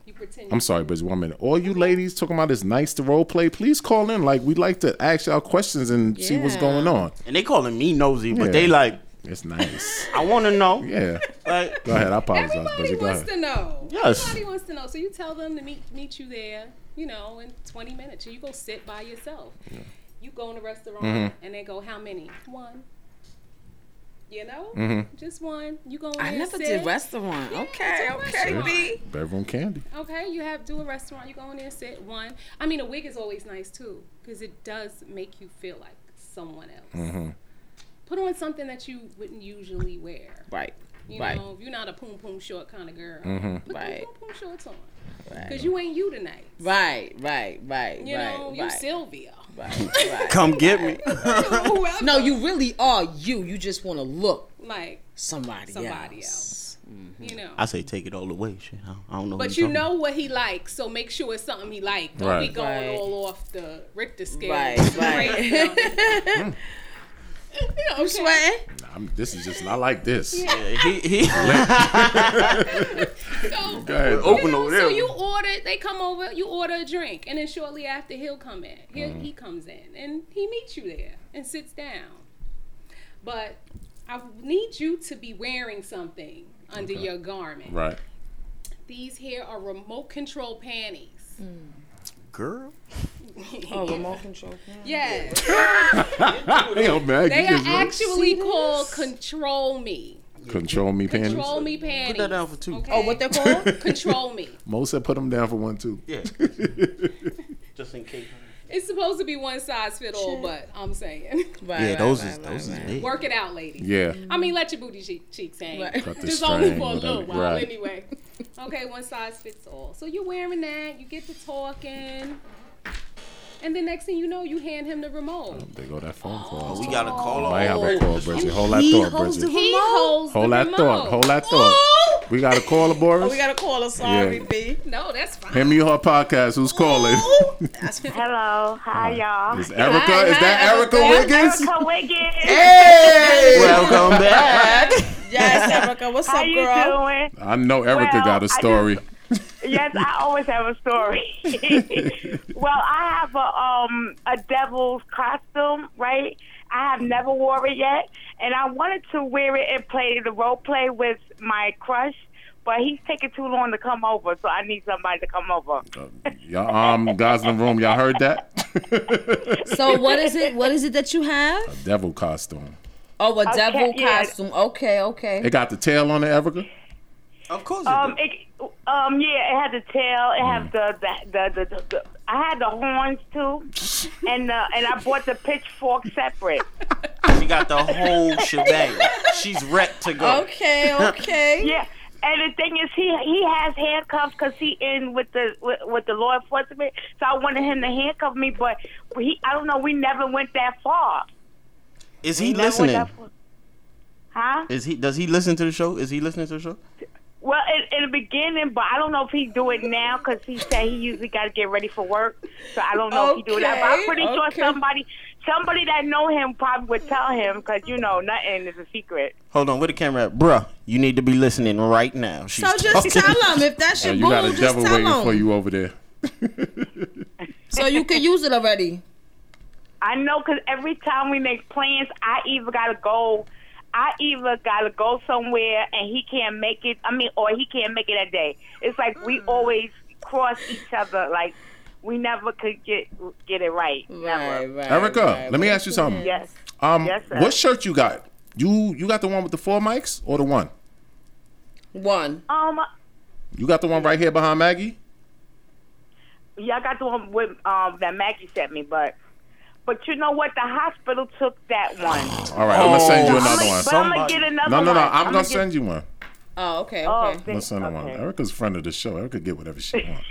You pretend I'm sorry, but one minute. All you ladies talking about it's nice to role play. Please call in. Like we'd like to ask y'all questions and see what's Yeah. going on. And they calling me nosy, but Yeah. they like, It's nice. I want to know. yeah. Like, Go ahead. I apologize, Everybody but go wants ahead. to know. Yes. Everybody wants to know. So you tell them to meet meet you there, you know, in 20 minutes. You go sit by yourself. You go in a restaurant Mm-hmm. and they go, how many? One. You know, Mm-hmm. just one. You go in I there, never sit. did restaurant. Okay, it's a okay, restaurant. B. Bedroom candy. Okay, you have do a restaurant. You go in there, sit one. I mean, a wig is always nice too, because it does make you feel like someone else. Mm-hmm. Put on something that you wouldn't usually wear. Right. You right. Mm-hmm. know, if you're not a poom poom short kind of girl, put Right. them poom poom shorts on, because you ain't you tonight. Right, right, right, You right, know, right, you Sylvia. <laughs> right, right. come get me. Whoever. No, you really are you. You just want to look like somebody, Somebody else. you know. I say take it all away. Shit, I don't, I don't know. but you know what he likes, so make sure it's something he likes. Don't be Right. going Right. all off the Richter scale. Right, <laughs> Crazy. right. Hmm. <laughs> Yeah, okay. Sweating. Nah, I'm, this is just. I like this. he he <laughs> So, <laughs> Go ahead. open You know, over So there. you order, they come over, you order a drink, and then shortly after he'll come in. He Mm-hmm. he comes in and he meets you there and sits down. But I need you to be wearing something under your garment. Right. These here are remote <laughs> control panties. girl. Oh, <laughs> remote control. Yes, Damn, <laughs> man. they you are just really- actually called control me. control me panties. Control me panties. Put that down for two. Okay? Oh, what they're called? <laughs> control me. Mo said put them down for one too. Yeah. Just in case. It's supposed to be one size fit all, but I'm saying, <laughs> Right, Yeah, right, those right, is right, those right. is big. work it out, ladies. Yeah. I mean, let your booty cheek, cheeks hang. <laughs> Right. Got the Just only string, for a little whatever. while, Right. anyway. <laughs> Okay, one size fits all. So you're wearing that, you get to talking, and the next thing you know, you hand him the remote. They go that phone call. Oh, We gotta call Might have a off. call, Bridget. Hold that thought, Bridget. He holds Hold the that remote. thought. Hold that thought. We got a caller, Boris. Oh, We gotta call her. Sorry, Yeah. B. No, that's fine. Him, you, her podcast. Who's calling? That's Hello, hi y'all. Is Erica? Hi, is that hi, Erica Erica. Wiggins? Erica Wiggins. Hey! <laughs> Welcome back. yes, Erica. What's How up, you girl? doing? I know Erica Well, got a I just- story. Yes, I always have a <laughs> story. well, I have a um a devil's costume, right? I have never wore it yet, and I wanted to wear it and play the role play with my crush, but he's taking too long to come over, so I need somebody to come over. y'all, um, guys in the room, y'all heard that? So what <laughs> is it? What is it that you have? Devil costume. Oh, a devil yeah. costume. Okay, okay. It got the tail on it, Erica. Of course. Um, it Mm. it, um, yeah, it had the tail. It had the the, the the the I had the horns <laughs> too, and uh, and I bought the pitchfork separate. does. she got the <laughs> whole shebang. She's wrecked to go. <laughs> Okay, okay. <laughs> Yeah, and the thing is, he he has handcuffs because he in with the with, with the law enforcement. So I wanted him to handcuff me, but he I don't know. We never went that far. Is he Never went listening? that far. Huh? Is he? Does he listen to the show? Is he listening to the show? Well, in, in the beginning, but I don't know if he do it now because he said he usually got to get ready for work. So I don't know if he do it now. But I'm pretty sure Okay, okay. somebody, somebody that know him probably would tell him because you know nothing is a secret. Hold on, where the camera at, bruh? You need to be listening right now. She's So just talking. tell him if that's your you boo. got a Just devil waiting tell for him. you over there. So you can use it already. I know because every time we make plans, I either gotta go, I either gotta go somewhere and he can't make it. I mean, or he can't make it that day. It's like we Mm. always cross each other. Like we never could get get it right. Right, Never. right. Erica, right. let me ask you something. Yes. Um, Yes, sir. what shirt you got? You you got the one with the four mics or the one? One. Um. You got the one right here behind Maggie. Yeah, I got the one with um that Maggie sent me, but but you know what? The hospital took that one. All right, I'm gonna send you another I'm one. Oh, but I'm gonna get another No, no, one. no. I'm, gonna get- send you one. Oh, okay, Oh, okay. thank- I'm gonna send her one. okay. Erica's friend of the show. Erica get whatever she wants.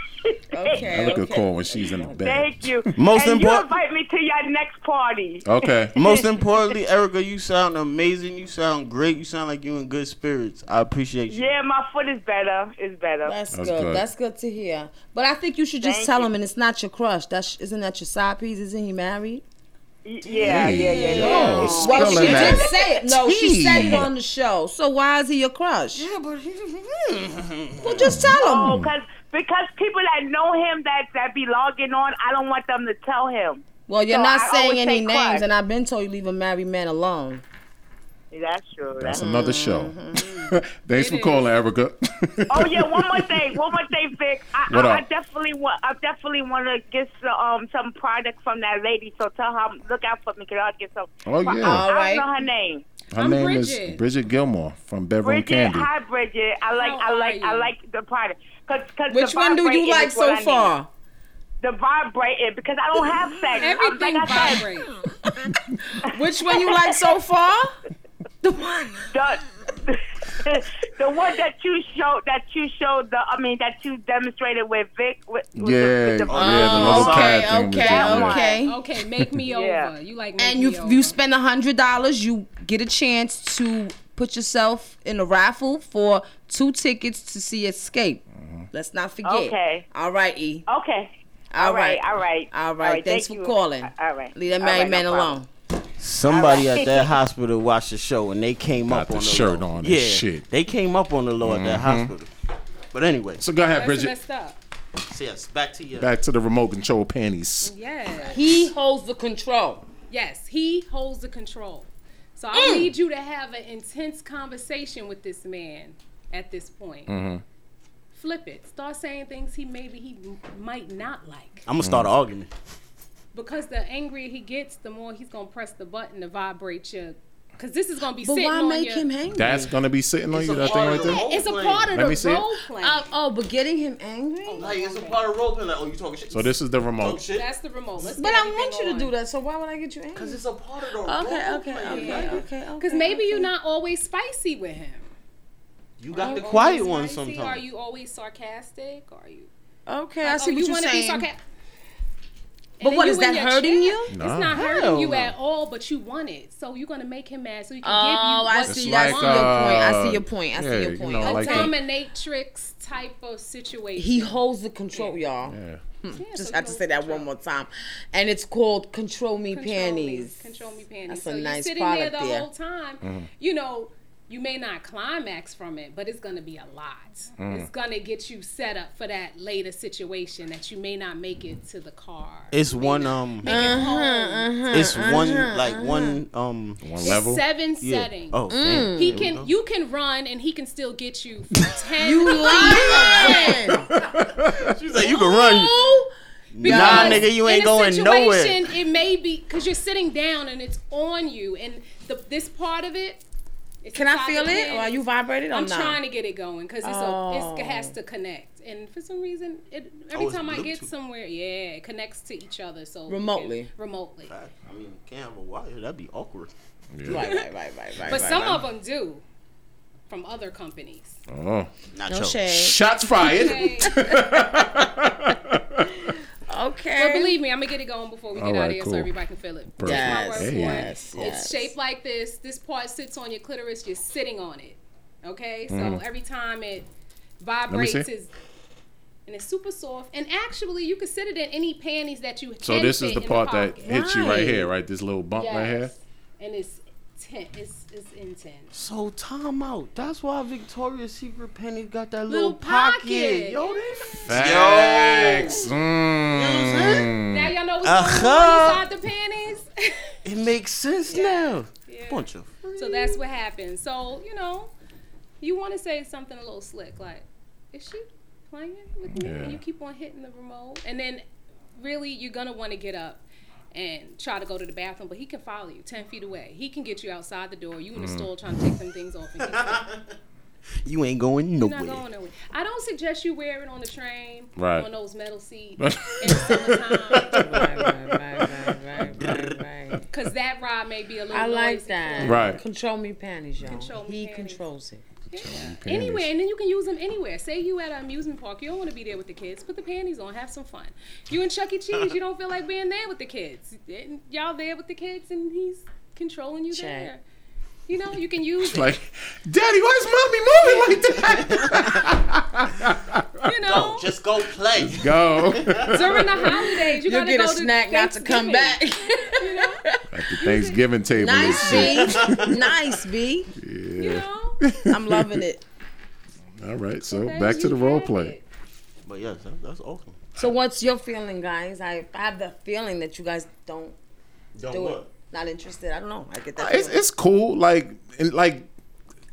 okay. Erica okay. call when she's in the bed. Thank you. Most and you import- invite me to your next party. <laughs> Okay. <laughs> Most importantly, Erica, you sound amazing. You sound great. You sound like you in good spirits. I appreciate you. Yeah, my foot is better. Is better. That's, That's good. good. That's good to hear. But I think you should just Thank tell you. him, and it's not your crush. That's isn't that your side piece? Isn't he married? Y- yeah, yeah, yeah, yeah. Yo, Well, she spilling did Oh, that. say it. No, she said it tea. on the show. So why is he <laughs> your crush? Yeah, but well, just tell him. Oh, cause because people that know him that that be logging on, I don't want them to tell him. Well, you're so not I saying always any say names, crush. and I've been told you leave a married man alone. That's true. That's That's another show. Mm-hmm. <laughs> Thanks for calling, Erica. <laughs> oh yeah, one more thing. One more thing, Vic. I, What I, I up? definitely want. I definitely want to get some, um some product from that lady. So tell her, I'm- look out for me. Cause I'll get some. um, Oh, I- yeah. I, Alright. don't know her name. Her I'm name is Bridget. Bridget Gilmore from Bedroom Bridget. Candy. Hi, Bridget. I like. How I like. are I you? like the product. Cause, cause Which the one do vibrating you like is what so I need. far? The vibrating because I don't have sex. Everything like I said, vibrates. Which one you like so far? The one. the the <laughs> one that you showed that you showed the I mean that you demonstrated with Vic with, with yeah, the, with yeah, the the little okay, cat thing. we okay, did, yeah. okay. Okay, <laughs> make me Yeah. over. You like make And me you over. you spend a hundred dollars, you get a chance to put yourself in a raffle for two tickets to see Escape. Let's not forget. Okay. All right, E. Okay. All All right, right. all right. All right. Thanks thank for you. calling. All right. Leave that All married right, no man problem. alone. Somebody at <laughs> that hospital watched the show and they came Got up the on the shirt law. on and Yeah, shit. Mm-hmm. they came up on the law at that hospital. But anyway, So go ahead, That's Bridget. messed up. yes, back to you. Back to the remote control panties. Yes. He holds the control. Yes, he holds the control. So I Mm. need you to have an intense conversation with this man at this point. Mm-hmm. Flip it. Start saying things he maybe he m- might not like. Mm-hmm. I'm gonna start an argument. Because the angrier he gets, the more he's gonna press the button to vibrate your. Because this is gonna be But sitting why on make your. him angry? That's gonna be sitting on you. That thing right there. It's a part of Let me see the it. role play. Oh, Uh, oh, but getting him angry? Like it's a part of role playing. Like, oh, you talking shit? So this is the talk remote. Oh, shit. That's the remote. Let's but I want you to do that, so why would I get you angry? Cause it's a part of the Okay, role okay, playing. okay, nigga. okay, okay. Because maybe you're not always spicy with him. You got the quiet Always one Oh, spicy? Are sometimes. you always sarcastic? Are you? Okay, I Oh, see what you you're wanna be saying. sarcastic. But what is that hurting you? It's Nah. not hurting Hell you no. at all, but you want it, so you're gonna make him mad, so he can Oh, I give see. you It's what I you Uh, like, see want. your point. I uh, see your point. Oh. I yeah, see your you point. know, a like uh, the- dominatrix type of situation. He holds the control, y'all. Hmm. Yeah, so Just he have to holds say that control. one more time. And it's called Control Me Control Panties. Me, control me panties. That's a so nice you're sitting there product the there. whole time. Mm-hmm. You know, you may not climax from it, but it's gonna be a lot. Mm-hmm. It's gonna get you set up for that later situation that you may not make it to the car. It's one um. Uh-huh, It's one like one um. One level. Seven Yeah. settings. Oh, Mm. damn. He can, you can run, and he can still get you from <laughs> ten. You lying. she's like you can run. Nah, Because nigga, you in ain't a going nowhere. situation, It may be because you're sitting down and it's on you, and the, this part of it. it's Can a I feel solid it? Or are you hit. vibrated or I'm not? trying to get it going because it's a, Oh. it has to connect, and for some reason, it Oh, every it's time I get Bluetooth. somewhere, yeah, it connects to each other. So we can- Remotely. remotely. I mean, can't have a wire. That'd be awkward. Right, right, right, right, right. right. But some of them do, from other companies. Oh. Not no your- shade. Shots fired. Okay. <laughs> Okay. but believe me, I'm gonna get it going before we get All out right, of here, cool. so everybody can feel it. Perfect. Yes, Hey. yes, yes. It's shaped like this. This part sits on your clitoris. You're sitting on it. Okay, so every time it vibrates, Mm. see. is and it's super soft. And actually, you can sit it in any panties that you. So can this is fit the in part that pocket. hits you right Right. here, right? This little bump right here. Yes. And it's ten. It's it's intense. So time out. That's why Victoria's Secret Penny got that little, Little pocket. pocket. Yo, they Facts. Mm. Now y'all know what's Uh-huh. going on inside the panties. <laughs> It makes sense now. Bunch of. So that's what happened. So, you know, you want to say something a little slick, like, is she playing with me? Yeah. And you keep on hitting the remote. And <laughs> then, really, you're going to want to get up and try to go to the bathroom, but he can follow you 10 feet away. He can get you outside the door. You in the Mm. store trying to take some things off. And <laughs> he's You ain't going You're not nowhere. going nowhere. I don't suggest you wear it on the train, Right. on those <laughs> metal seats in the summertime, Right, right, right, right, right, right, right. <laughs> <laughs> because that ride may be a little. I like noisy. that. Right. Control me panties, y'all. Control me he panties. controls it. Anywhere, and then you can use them anywhere. Say you at an amusement park, you don't want to be there with the kids. Put the panties on, have some fun. You in Chuck E. Cheese, you don't feel like being there with the kids. And y'all there with the kids, and he's controlling you Check. there. You know, you can use it. Like, Daddy, why is mommy moving like that? you know, Just go play. Mm, <laughs> Go. during the holidays, you You'll gotta get a go snack to not to come back. Thanksgiving, you know, At the Thanksgiving table. and nice shit. B, <laughs> nice B. you know. I'm loving it. All right, so Thank back to you, the role Jack. play. But yes, that, that's awesome. So what's your feeling, guys? I, I have the feeling that you guys don't Don't do it. Not interested. I don't know. I get that. Uh, It's, feeling. it's cool. Like, and like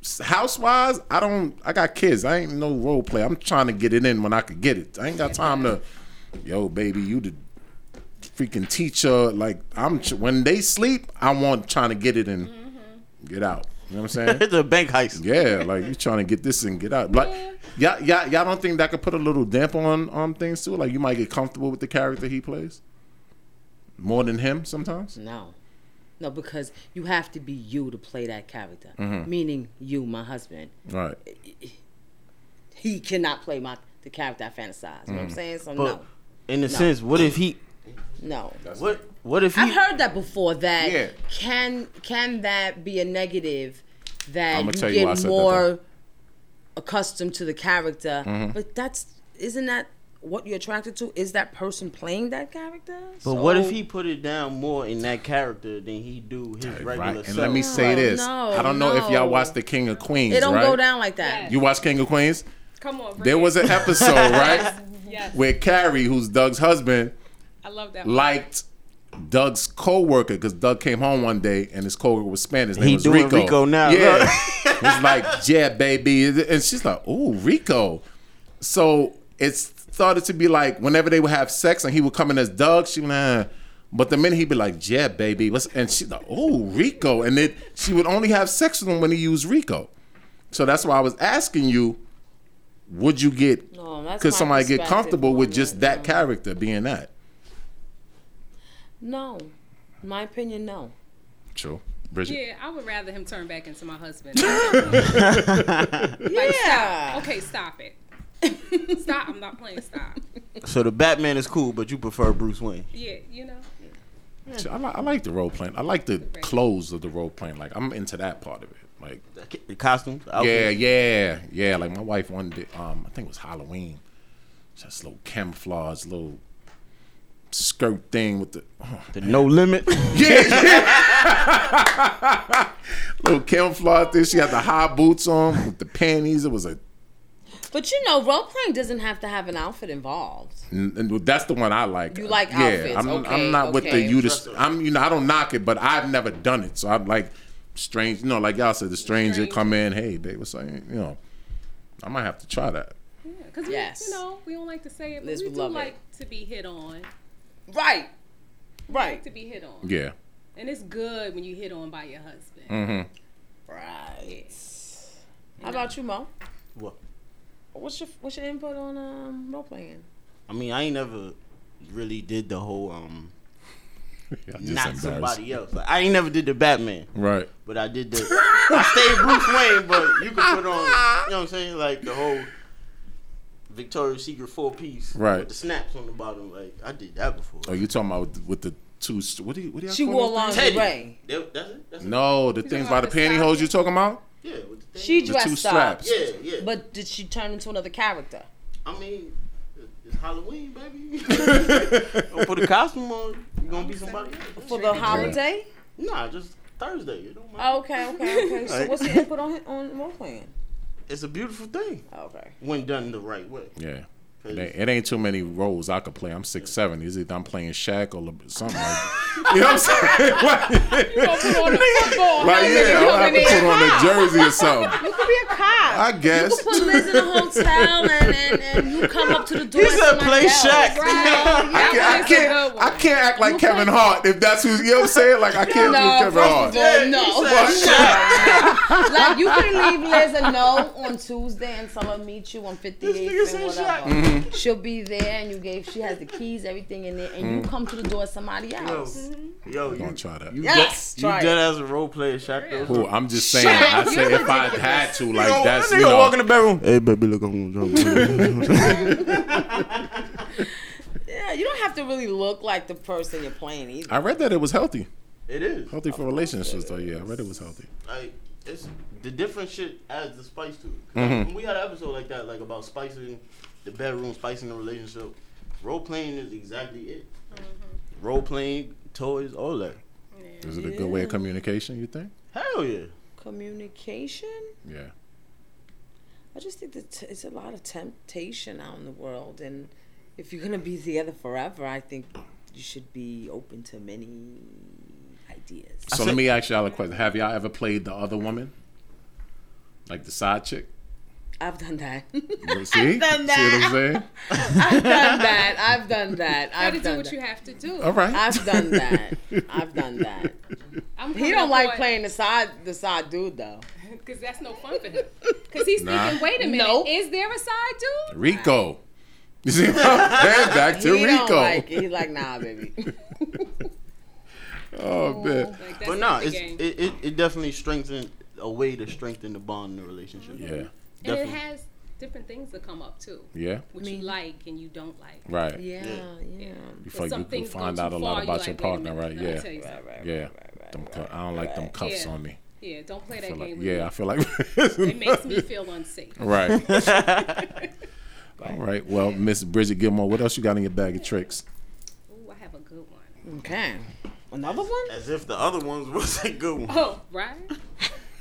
housewise, I don't. I got kids. I ain't no role play. I'm trying to get it in when I could get it. I ain't got time to. Yo, baby, you the freaking teacher. Like, I'm tr- when they sleep, I want trying to get it and get out. You know what I'm <laughs> saying? It's a bank heist. Yeah, like you trying to get this and get out. Like, y'all, y'all, y'all don't think that could put a little damper on on things too? Like, you might get comfortable with the character he plays more than him sometimes. No. No, because you have to be you to play that character. Meaning you, my husband. Mm-hmm. Right. He cannot play my the character I fantasize. You know what I'm saying? So Mm. But in a sense, what if he? no. No. What what if he? I've heard that before that Yeah. can can that be a negative that I'ma you tell you why I get said that, more though. accustomed to the character. Mm-hmm. But that's isn't that what you're attracted to? Is that person playing that character? but what if he put it down more in that character than he do his regular Right. And self? let me say this. No, I don't know if y'all no. watched The King of Queens. It don't right? go down like that. You watch King of Queens? Come on, There was an <laughs> episode, right? yes, Where Carrie, who's Doug's husband, I love that. liked Doug's coworker because Doug came home one day and his coworker was Spanish. His name He was doing Rico. Rico now, Yeah, look. <laughs> he's like, yeah, baby, and she's like, ooh, Rico. So it started to be like whenever they would have sex and he would come in as Doug, she would nah. But the minute he'd be like, yeah, baby, what's and she's like, ooh, Rico, and then she would only have sex with him when he used Rico. So that's why I was asking you, would you get? No, Oh, that's could my somebody get perspective comfortable with on just it, that no. character being that? No. In my opinion, no. True, Bridget. Yeah, I would rather him turn back into my <laughs> husband. Yeah. okay, stop it. <laughs> Stop. I'm not playing. Stop. So the Batman is cool, but you prefer Bruce Wayne. Yeah, you know. So I, li- I like the role playing. I like the clothes of the role playing. Like I'm into that part of it. Like The costumes. yeah, outfits. yeah, yeah. Like my wife one day, um, I think it was Halloween. Just little camouflage, little skirt thing with the oh, The no <laughs> limit. little camouflage thing. She had the high boots on with the panties. It was a But you know, role playing doesn't have to have an outfit involved. and and that's the one I like. You like outfits. I'm, Okay, I'm not with the okay. you. Just, I'm you know I don't knock it, but I've never done it, so I'm like strange. You know, like y'all said, the stranger come in. Hey, babe, what's up? You know, I might have to try that. Because Yes. we, you know, we don't like to say it, but Liz we would do love it. like to be hit on. Right. To be hit on, Yeah, Mm-hmm. and it's good when you hit on by your husband. Right. How about you, Mo? What? What's your what's your input on um role playing? I mean, I ain't never really did the whole um <laughs> Yeah, I'm just not embarrassed. somebody else. Like, I ain't never did the Batman, Right. but I did the. I stayed <laughs> Bruce Wayne, but you can put on. You know what I'm saying? Like the whole Victoria's Secret four piece, Right. With the snaps on the bottom. Like I did that before. Oh, you talking about with, the- with the two? st- What do you? What do y'all She call wore them long things? Teddy. lingerie. That- that's it. That's it. No, the things by the pantyhose. You talking about? Yeah, with the thing. She The two dressed up. straps. Yeah, yeah. But But did she turn into another character? I mean, it- it's Halloween, baby. <laughs> Don't put a costume on. You gonna be somebody else. For the holiday? Nah, just Thursday. You don't matter. Okay, okay, okay. <laughs> So what's your input on on role playing? It's a beautiful thing Okay. <laughs> when done the right way. Yeah. There- It ain't too many roles I could play. I'm six seven. Is either I'm playing Shaq or Le- something like that. You know what I'm <laughs> saying? Like, You gonna put on the football. like, yeah, I'll have to put on a jersey or something. You could be a cop. I You guess. could put Liz in a hotel and, and, and you come up to the door. He and said, somebody "Play else." Shaq." Right. <laughs> I can't, I can't, I can't act like Kevin Hart if that's who you know what I'm saying. Like I can't No, do Kevin first Hart. of all, no. Oh, Like you can leave Liz a note on Tuesday, and someone meet you on 58th and whatever. Mm-hmm. She'll be there, and you gave. She has the keys, everything in there, and Mm-hmm. you come to the door, somebody else. <laughs> Yo, Don't you, try that. Yes, you try dead it. as a role player, Shaq. though. Cool. I'm just saying. Shaq, I said you're if I ridiculous. had to, Yo, like that's that you nigga walk in know. the bedroom. Hey, baby, look, I'm gonna <laughs> jump. Yeah, you don't have to really look like the person you're playing either. I read that it was healthy, it is. healthy for relationships. Though, yeah, I read it was healthy. like it's the different shit adds the spice to it. Mm-hmm. When we had an episode like that, like about spicing the bedroom, spicing the relationship. Role playing is exactly it. Mm-hmm. Role playing, toys, all that. Is it a good way of communication? You think? Hell yeah. Communication. Yeah. I just think that t- it's a lot of temptation out in the world, and if you're gonna be together forever, I think you should be open to many ideas. So let me ask y'all a question: Have y'all ever played the other woman, like the side chick? I've done that. You <laughs> See, done see what that. I'm saying? <laughs> I've done that. I've done that. Gotta I've do done what you that. have to do. <laughs> All right. I've <laughs> done that. I've done that. I'm He coming don't up like on- playing the side the side dude <laughs> though. Cause that's no fun for him. Cause he's Nah. thinking, wait a minute, Nope. is there a side dude? Rico. You see, what I'm saying? back to he Rico. don't like it. He's like, nah, baby. <laughs> <laughs> Oh man. Like, that's But not nah, the it's, game. it, it it definitely strengthens a way to strengthen the bond in the relationship. Yeah, and it Definitely. has different things that come up too, yeah, which you like and you don't like. right. Yeah, yeah. You But feel like some you can things go find too out a lot far, you're about your like, wait a partner, minute, right? let me Yeah, tell you something. yeah. Them cu- I don't like them cuffs Yeah. on me. Yeah, don't play I that feel like, game with yeah, I me. <laughs> feel like It makes me feel unsafe. <laughs> right. All right. Well, Miss Bridget Gilmore, what else you got in your bag of tricks? Ooh, I have a good one. Okay. Another one? As if the other ones <laughs> was a good one. Oh, right?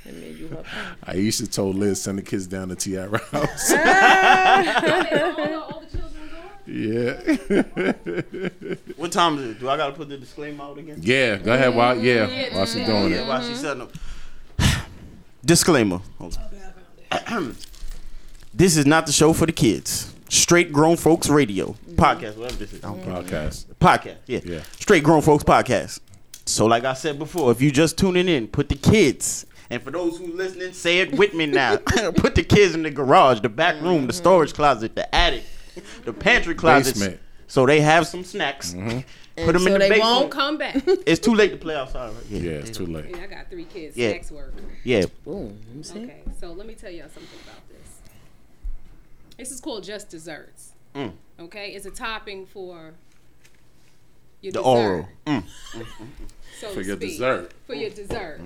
I mean, you have Aisha told Liz send the kids down to Tiara house. all, the, all the children gone? yeah. What time is it? Do I gotta put the disclaimer out again? Yeah. Go ahead. While yeah, while she's doing Yeah, it. why she setting up. <sighs> Disclaimer. Hold on. <clears throat> this is not the show for the kids. Straight grown folks radio podcast. Whatever this is. I don't care. Podcast. Podcast. Yeah. Yeah. Straight grown folks podcast. So, like I said before, if you just tuning in, put the kids. And for those who listening, say it with me <laughs> now. <laughs> put the kids in the garage, the back room, the storage closet, the attic, the pantry closet. Basement. Mm-hmm. So they have some snacks. Put them so in the they basement. won't Come back. <laughs> It's too late to play outside. Right? Yeah, it's too late. I got three kids. Yeah. Next word. Yeah. Boom. Let me see. Okay, so let me tell y'all something about this. This is called just desserts. Mm. Okay, it's a topping for your The dessert, oral. Mm. so For to your speak. dessert. <laughs> For your dessert,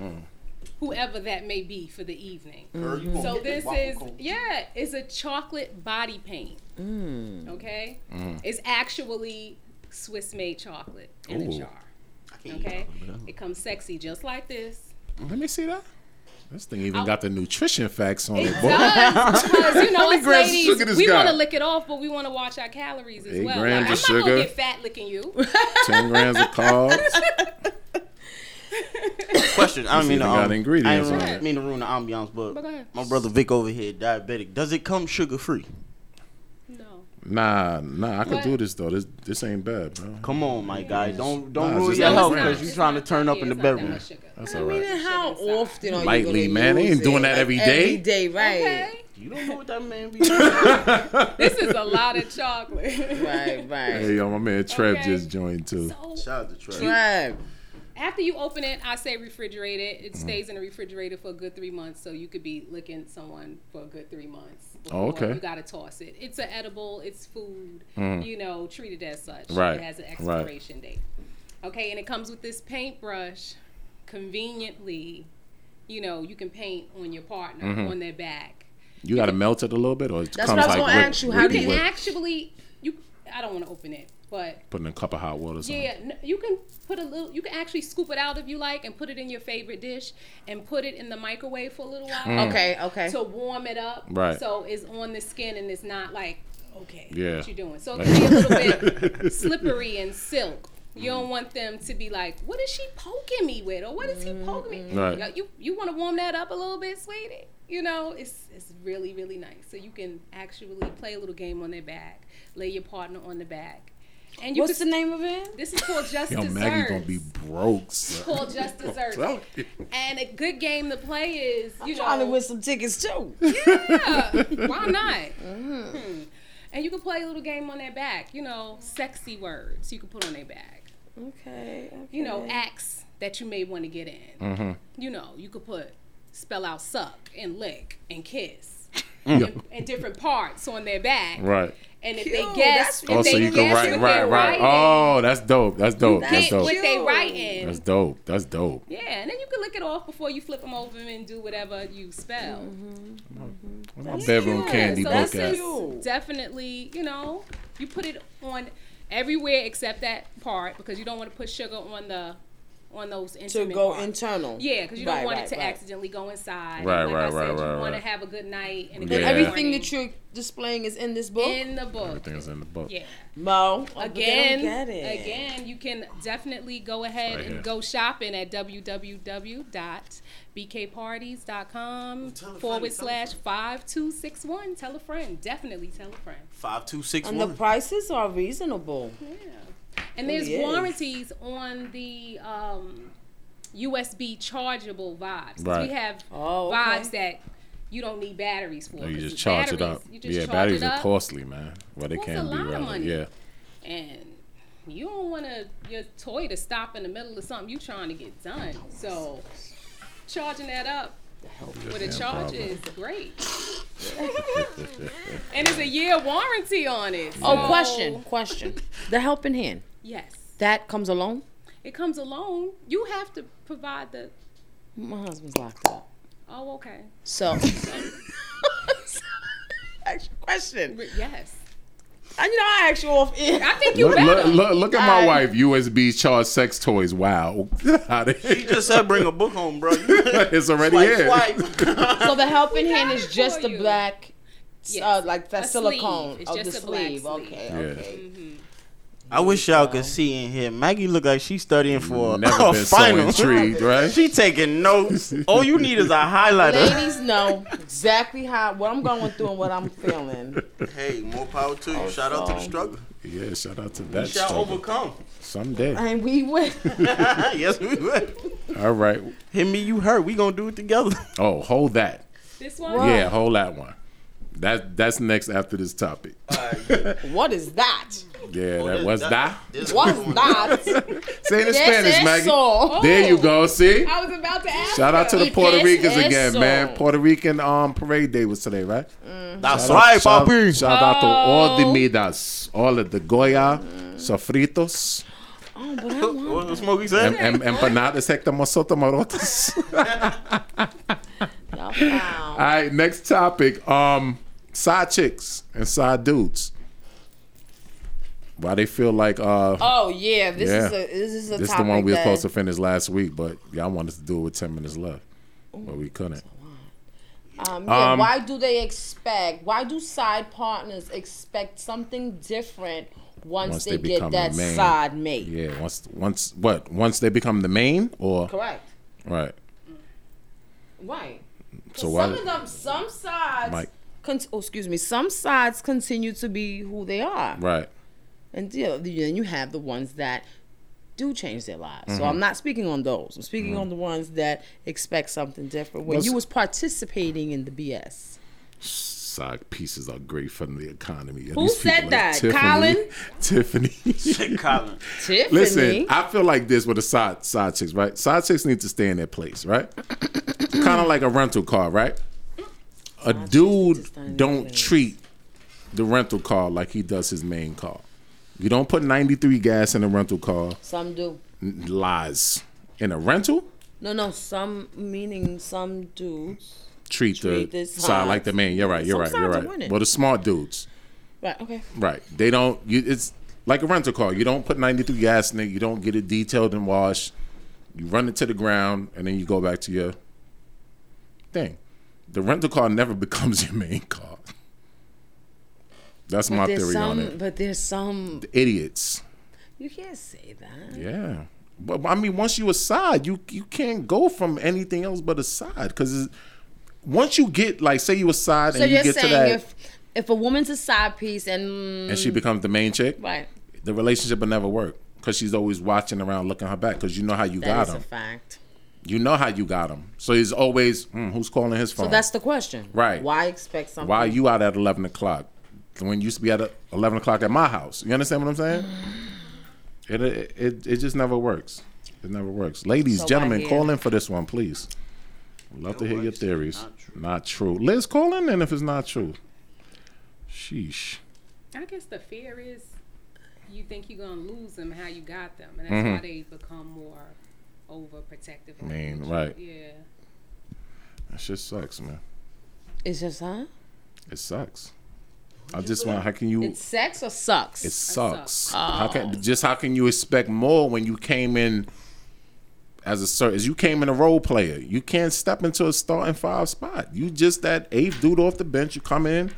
whoever that may be for the evening. Girl, you gonna So get that this waffle is cone. yeah, it's a chocolate body paint. Mm. Mm. Okay, Mm. it's actually Swiss made chocolate in Ooh. a jar. Okay, it comes sexy just like this. Let me see that. This thing even got the nutrition facts on Oh. it, It boy. <laughs> does because you know us grams of sugar ladies, this we guy. want to lick it off, but we want to watch our calories as Eight well. grams Like, of I'm not gonna sugar. get fat licking you. <laughs> Ten grams of <laughs> carbs. Question. I don't mean to, even got um, ingredients I don't on mean- it. mean to ruin the ambiance, but But go ahead. my brother Vic over here, diabetic. Does it come sugar free? No, Nah, nah, I can What? do this though. This this ain't bad, bro. Come on, my guy. Don't Nah, don't it's ruin just your like health grams. because you trying to turn up in the it's not that bedroom. much sugar. That's all right. How often are Lightly, you gonna man. They use ain't doing it? that Like, every day. Every day, right? Okay, You don't know what that man be. <laughs> <laughs> this is a lot of <laughs> chocolate. Right, right. Hey, yo, my man Trev Okay. just joined too. So Shout out to Trey. Right. after you open it, I say refrigerate it. It stays in the refrigerator for a good three months, so you could be licking someone for a good three months. before Oh, okay. Mm. You gotta toss it. It's an edible. It's food. You know, treat it as such. Right, It has an right. expiration date. Okay, and it comes with this paintbrush. Conveniently, you know, you can paint on your partner Mm-hmm. on their back. You gotta melt it a little bit, or it That's comes what I was like gonna whipped- ask you. whipped How You do can whip. actually you. I don't want to open it, but putting a cup of hot water? or something. Yeah, n- you can put a little. You can actually scoop it out if you like, and put it in your favorite dish, and put it in the microwave for a little while Okay, okay. to warm it up. Mm. Right. So it's on the skin and it's not like okay, Yeah. what you doing? <laughs> So it can be a little bit slippery and silk. You don't want them to be like, what is she poking me with, or what is he Mm-hmm. poking me? Right. Yo, You you want to warm that up a little bit, sweetie? You know, it's it's really really nice. So you can actually play a little game on their back, lay your partner on the back, and you What's the can. name of it? This is called just Yo, desserts. Maggie gonna be broke. <laughs> son. called <laughs> just desserts. Tell <laughs> you. And a good game to play is, you Trying to know, win some tickets too. yeah, <laughs> why not? Mm-hmm. Hmm. And you can play a little game on their back, you know, sexy words you can put on their back. okay, You know, acts that you may want to get in. You know, you could put spell out suck and lick and <laughs> kiss and, and different parts on their back. Right. And if Cute, they guess, that's if Oh, they so you can guess write, what right, they're right. writing, Oh, that's dope. That's dope. That's hit dope. what they writing. That's dope. That's dope. Yeah, and then you can lick it off before you flip them over and do whatever you spell. Mm-hmm. Where Mm-hmm. my bedroom Yeah, candy so book this at? is Definitely, you know, you put it on everywhere except that part because you don't want to put sugar on the on those to intimate go parts. internal. Yeah, because you don't Right, want right, it to right. accidentally go inside. And Right, like right, I said, right, You right, want to right. have a good night and a But good Everything morning that you're displaying is in this book. in the book. Everything that's in the book. Yeah. Mo, oh, but they Again, don't get it. again, you can definitely go ahead Right and here. go shopping at www.bkparties.com forward slash 5261. Tell a friend. Definitely tell a friend. Five two six and the one. prices are reasonable. And there's yes. warranties on the um, USB chargeable vibes. 'Cause Right. We have Oh, okay. vibes that you don't need batteries for. Oh, you 'cause just the charge it up. batteries- you just Yeah, charge batteries it are up, costly, man. Well, they Costs a can be lot of rather. money. Yeah. And you don't want to your toy to stop in the middle of something you trying to get done. So charging that up with a damn charge problem. is great. and it's a year warranty on it. Oh, so- question, question. <laughs> The helping hand Yes, that comes alone. it comes alone. You have to provide the. My husband's locked up, Oh, okay. <laughs> so. <laughs> Ask you a question. Re- Yes. And you know, I asked you off air. I think you Look, look, better. look, look at my I- wife. USB charge sex toys. Wow. <laughs> He just said bring a book home, bro. it's already Swipe, here. swipe. <laughs> So the helping hand got is it just for the you. black, uh, Yes. like the A silicone sleeve. It's of just the a black sleeve. sleeve. Okay, Yeah. okay. Mm-hmm. I wish y'all could see in here. Maggie look like she's studying for Never a <laughs> been final. so intrigued, right? She taking <laughs> notes. All you need is a highlighter. Ladies know exactly how what I'm going through and what I'm feeling. Hey, more power to you. Shout out to the struggle. yeah, shout out to that. Shall struggle. overcome. Someday. And we <laughs> win. <laughs> yes, we will. All right. Hit me, you hurt. We gonna do it together. Oh, hold that. This one. Yeah, hold that one. That that's next after this topic. What is that? Yeah, that was that. What's that? <laughs> Say it in That's Spanish, Maggie. eso. There you Oh. go. See. I was about to ask. Shout out to the It Puerto is Ricans again, eso. man. Puerto Rican um parade day was today, right? Mm. That's right, shout, papi. Shout out to all the Oh. midas, all of the goya, sofritos, <laughs> What what Smokey said? em, em, empanadas, hector mosota <laughs> marotas. Y'all found. all right, next topic. Um, side chicks and side dudes. Why they feel like uh Oh yeah, this is Yeah. a this is a this is the topic one we were that supposed to finish last week, but y'all wanted us to do it with ten minutes left, but we couldn't. um, yeah, um, why do they expect? Why do side partners expect something different once, Once they, they get become that a man. side mate? Yeah, once once what once they become the main or Correct. right. Right. So some why of them, some sides. Mike Con- oh, excuse me. Some sides continue to be who they are, right. and you know, then you have the ones that do change their lives. Mm-hmm. So I'm not speaking on those. I'm speaking on the ones that expect something different. When Let's- you was participating in the BS, Side pieces are great for the economy. And Who these people said like that? Tiffany, Colin? <laughs> Tiffany. Shit, Colin. Tiffany. Listen, I feel like this with the side side chicks, right? Side chicks need to stay in their <coughs> place, right? kind of like a rental car, right? to stay A in dude their don't place. treat the rental car like he does his main car. You don't put 93 gas in a rental car. some do. N- Lies. In a rental, No, no. Some meaning some dudes. treat, Treat the the side like sides. the main. You're right. You're Some right. You're sides are right. winning. Well, the smart dudes. Right. Okay. Right. They don't. You, it's like a rental car. You don't put 93 gas in it. You don't get it detailed and washed. You run it to the ground, and then you go back to your <laughs> thing. The rental car never becomes your main car. That's But my there's theory some, on it. But there's some. Idiots. You can't say that. Yeah. But but I mean, once you a side, you you can't go from anything else but a side. Because once you get like, say you a side So and you you're get to that, saying if if a woman's a side piece and and she becomes the main chick, right, the relationship will never work. Because she's always watching around, looking her back. Because you know how you that got is a him. fact. You know how you got him. So he's always, hmm, who's calling his phone? So that's the question. Right. Why expect something? Why are you out at 11 o'clock? When you used to be at uh, 11 o'clock at my house. You understand what I'm saying? Mm-hmm. It, it, it, it just never works. It never works. Ladies, So why gentlemen, here? call in for this one, please. We'd love to hear your theories. Not true. Liz, call in and if it's not true. Sheesh. I guess the fear is you think you're gonna lose them how you got them, and that's Mm-hmm. why they become more overprotective. I mean, right. Yeah. That shit sucks, man. It's just huh? It sucks. I just want, how can you. It's sex or sucks. Ah. Uh, It sucks. How can just how can you expect more when you came in as a certain as you came in a role player? You can't step into a starting five spot. You just that eighth dude off the bench. You come in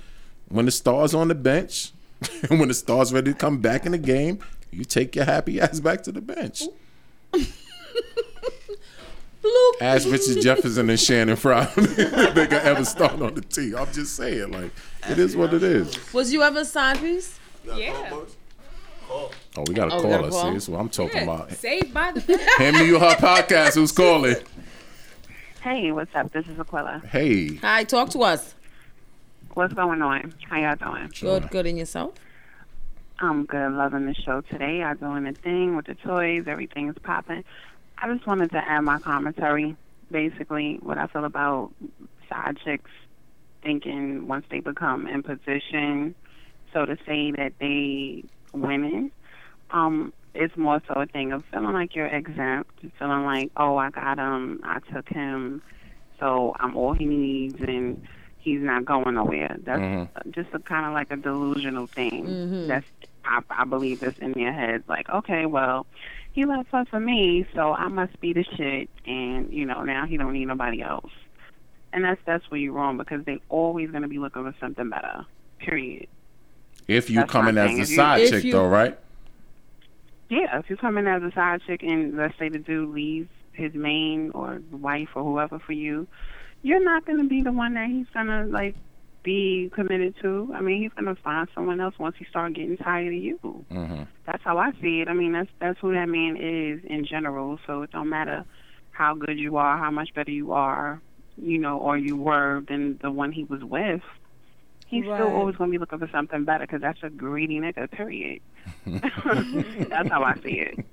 when the star's on the bench, <laughs> and when the star's ready to come back in the game, you take your happy <laughs> ass back to the bench. Bloop. Ask Richard Jefferson and Shannon Fry <laughs> if they could ever start on the tee. I'm just saying, like it is what it is. Was you ever a side piece? Yeah. Oh, we got a Oh, we got a caller. See, call? this is what I'm talking yeah. about. Saved by the <laughs> bell. Hand me your hot podcast. Who's calling? Hey, what's up? This is Aquila. Hey. Hi, talk to us. What's going on? How y'all doing? Good, good in yourself. I'm good. Loving the show today. Y'all doing the thing with the toys. Everything is popping. I just wanted to add my commentary, basically what I feel about side chicks thinking once they become in position, so to say that they women. Um, it's more so a thing of feeling like you're exempt, feeling like, oh, I got him, I took him, so I'm all he needs, and he's not going nowhere. That's just a kind of like a delusional thing. Mm-hmm. Mm-hmm. That's I, I believe that's in their heads. Like, okay, well, he left her for me, so I must be the shit, and you know now he don't need nobody else. And that's that's where you're wrong because they always gonna be looking for something better. Period. If you That's come my in as thing. the If you- side If chick, you- though, right? Yeah, if you come in as a side chick and let's say the dude leaves his main or wife or whoever for you, you're not gonna be the one that he's gonna like be committed to. I mean, he's gonna find someone else once he start getting tired of you. Mm-hmm. That's how I see it. I mean, that's that's who that man is in general. So it don't matter how good you are, how much better you are, you know, or you were than the one he was with. He's Right. still always gonna be looking for something better because that's a greedy nigga. Period. that's how I see it.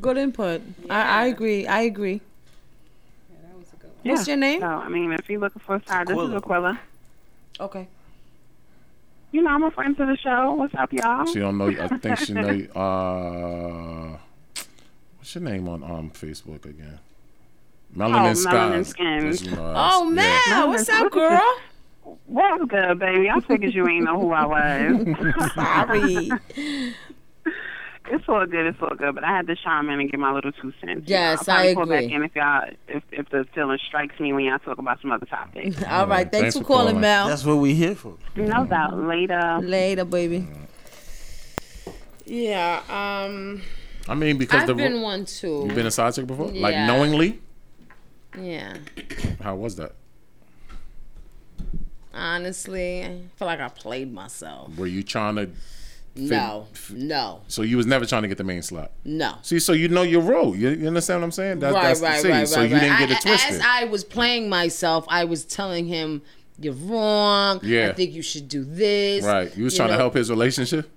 Good input. I, I agree. I agree. Yeah, that was a good one. Oh, What's your name? So I mean, if you're looking for a side, this is Aquila. Aquila. Okay. You know, I'm a friend to the show. What's up, y'all? She don't know. I think she <laughs> know. you- Uh, what's your name on um Facebook again? Melanin Oh, Melanin Skies. Skins. Just, you know, Oh yeah. man, No, what's that's- up, girl? What's good, baby? I figured you ain't know who I <laughs> was. Sorry. <laughs> It's all good. It's all good. But I had to chime in and get my little two cents. Yes, I'll probably I pull back agree. in if y'all if, if the feeling strikes me when y'all talk about some other topic. <laughs> All right. Thanks, for calling, Mel. That's what we here for. no doubt. Later. Later, baby. Yeah. Um. I mean, because I've the been one too. you've been a side chick before, like Yeah. knowingly. yeah. How was that? Honestly, I feel like I played myself. Were you trying to? No. No. So you was never trying to get the main slot. No. See, so you know your role. You, you understand what I'm saying? That, right, that's the right, scene. right, So right, you didn't right. get it I- twisted. As I was playing myself, I was telling him, "You're wrong. Yeah. I think you should do this." right. You was trying to know, help his <laughs> relationship.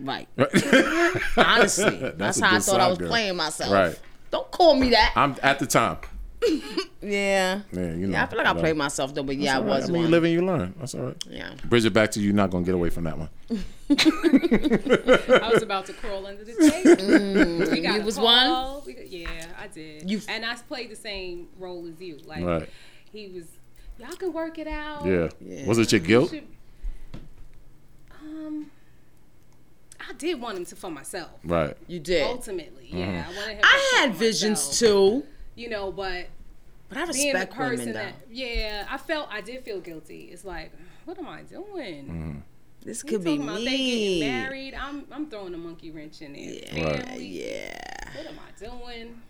Right. <laughs> Honestly, that's, a how I thought I good side was girl. playing myself. Right. Don't call me that. I'm at the time. yeah. Yeah, you know. Yeah, I feel like I played myself though, but yeah, I All right. was I mean, you one. live and you learn. That's all right. yeah. Bridget, back to you. Not gonna get away from that one. I was about to crawl under the <laughs> table. Mm. We got Mm. You a was call. We got- yeah, I did. You- and I played the same role as you. Like Right. he was. Y'all can work it out. Yeah. Oh, Yeah. Was it your guilt? Should- um, I did want him to for myself. Right. You did. Ultimately, yeah, I wanted him. I to had for visions myself, too, You know, but but I being the respect person women though. that yeah, I felt I did feel guilty. It's like, what am I doing? This We could be talking about they me. getting married. I'm I'm throwing a monkey wrench in there. Right. Family. Yeah. What am I doing?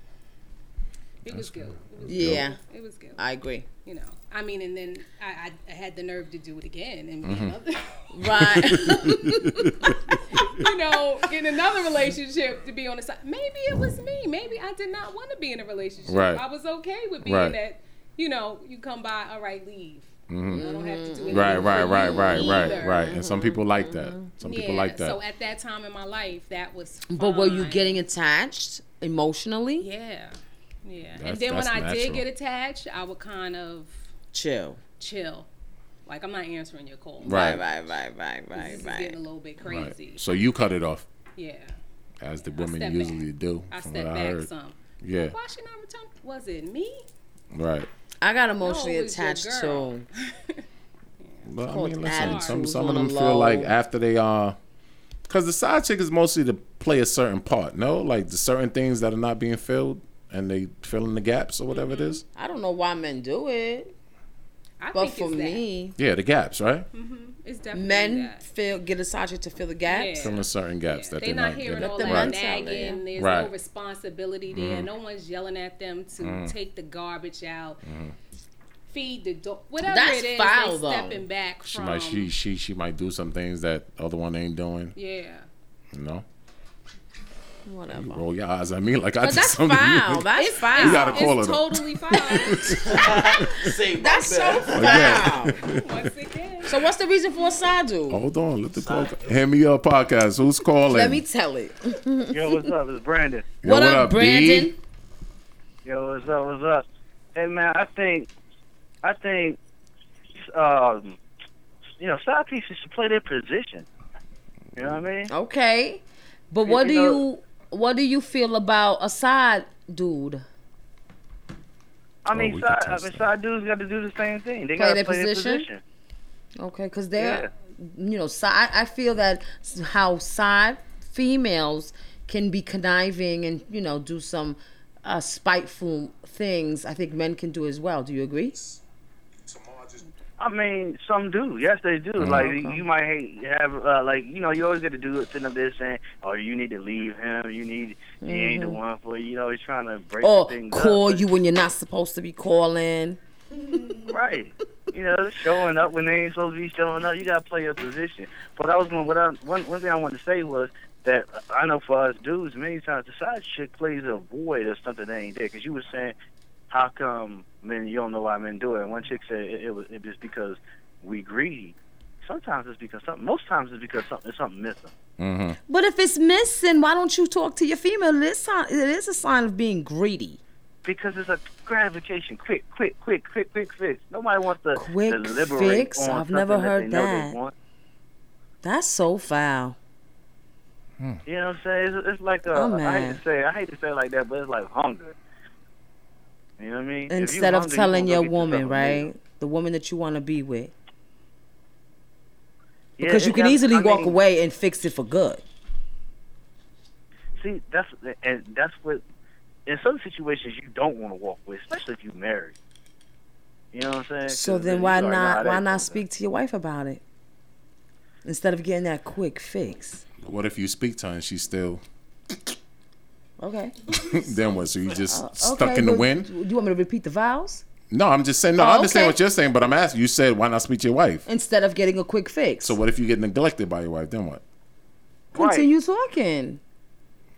It was good. It was, Yeah. it was good. I <laughs> agree. You know, I mean, and then I, I, I had the nerve to do it again and be another, Right. <laughs> <laughs> <laughs> <laughs> you know, in another relationship to be on the side. Maybe it was me. Maybe I did not want to be in a relationship. Right. I was okay with being Right. that. You know, you come by. All right, leave. I don't have to do it. Mm-hmm. Right, right, right, right, right, right. And some people like that. Mm-hmm. Some people like that. So at that time in my life, that was. but were you fine. getting attached emotionally? Yeah, yeah. That's- and then when that's I did natural. get attached, I would kind of Chill. chill. Like I'm not answering your call. right, right, Right, right, right, right, This is right. getting a little bit crazy. So you cut it off, Yeah. as the step women back. usually do, I from stepped what I back heard. some. Yeah, Why should I return? Was it me? right. I got emotionally No, it was your Oh, attached girl. too. But I called mean, listen, attitude some some of on them the feel like low. after they uh, because the side chick is mostly to play a certain part, no, like the certain things that are not being filled, and they fill in the gaps or whatever it is. I don't know why men do it, I but think for it's that. Mm-hmm. me, Yeah, the gaps, right? it's definitely men that. feel get attached to fill the gaps. Filling certain gaps that They're they're not getting. hearing all the that men right. tell nagging. you. There's no Right. Mm-hmm. responsibility there. No one's yelling at them to take the garbage out, Mm-hmm. feed the dog, whatever That's it is. foul, they though. stepping back She from. might she she she might do some things that the other one ain't doing. yeah. You know, Whatever. roll your eyes at me like I But did that's something. to you. <laughs> foul. That's foul. You gotta call It's it. up. <laughs> totally foul. Save That's so Again. foul. Once again. so what's the reason for a side dude? <laughs> Hold on, let the call. Hand me your podcast. Who's calling? Let me tell <laughs> it. Yo, what's up? It's Brandon. Yo, what, up, B? Brandon? Yo, what's up? What's up? Hey, man, I think, I think, um, you know, side pieces should play their position. You know what I mean? Okay. But what do you know- you what do you feel about a side dude? I mean, we can side, I touch mean, that. side dudes got to do the same thing. They Play got to their play position? their position. Okay, because they're, you know, side. I feel that s- how side females can be conniving and you know do some uh, spiteful things. I think men can do as well. Do you agree? I mean, some do. Yes, they do. Like you might hate- have, uh, like you know, you always got to do it sitting up there saying, "Oh, you need to leave him. You need, he ain't the Mm-hmm. one for you." You know, he's trying to break Or things call up. you when you're not supposed to be calling. Right. You know, showing up when they ain't supposed to be showing up. You gotta play your position. But I was going. What I one one thing I wanted to say was that I know for us dudes, many times the side chick plays a void or something that ain't there. Because you were saying, how come men? You don't know why men do it. And one chick said it, it was it just because we greedy. Sometimes it's because something. Most times it's because something something missing. But if it's missing, why don't you talk to your female? It is, sign, it is a sign of being greedy. Because it's a gratification, quick, quick, quick, quick, quick fix. Nobody wants to Quick deliberate fix? on I've never something that. heard they know that. they want. That's so foul. You know what I'm saying? It's, it's like a, Oh, I hate man. to say I hate to say it like that, but it's like hunger. You know what I mean? If you Instead of hungry, you telling gonna go your get yourself a woman, meal. right, the woman that you want to be with, Yeah, because you it- can that's- easily I walk mean, away and fix it for good. See, that's and that's what in some situations you don't want to walk away, especially if you married. You know what I'm saying? 'Cause So then you why like, nah, not that why ain't not gonna- speak to your wife about it? Instead of getting that quick fix. What if you speak to her and she's still <laughs> Okay. Uh, then what? So you just stuck Oh, okay, in the but wind? Do you want me to repeat the vows? No, I'm just saying. No, I Oh, understand okay. what you're saying, but I'm asking. You said why not speak to your wife? Instead of getting a quick fix. So what if you get neglected by your wife? Then what? continue talking.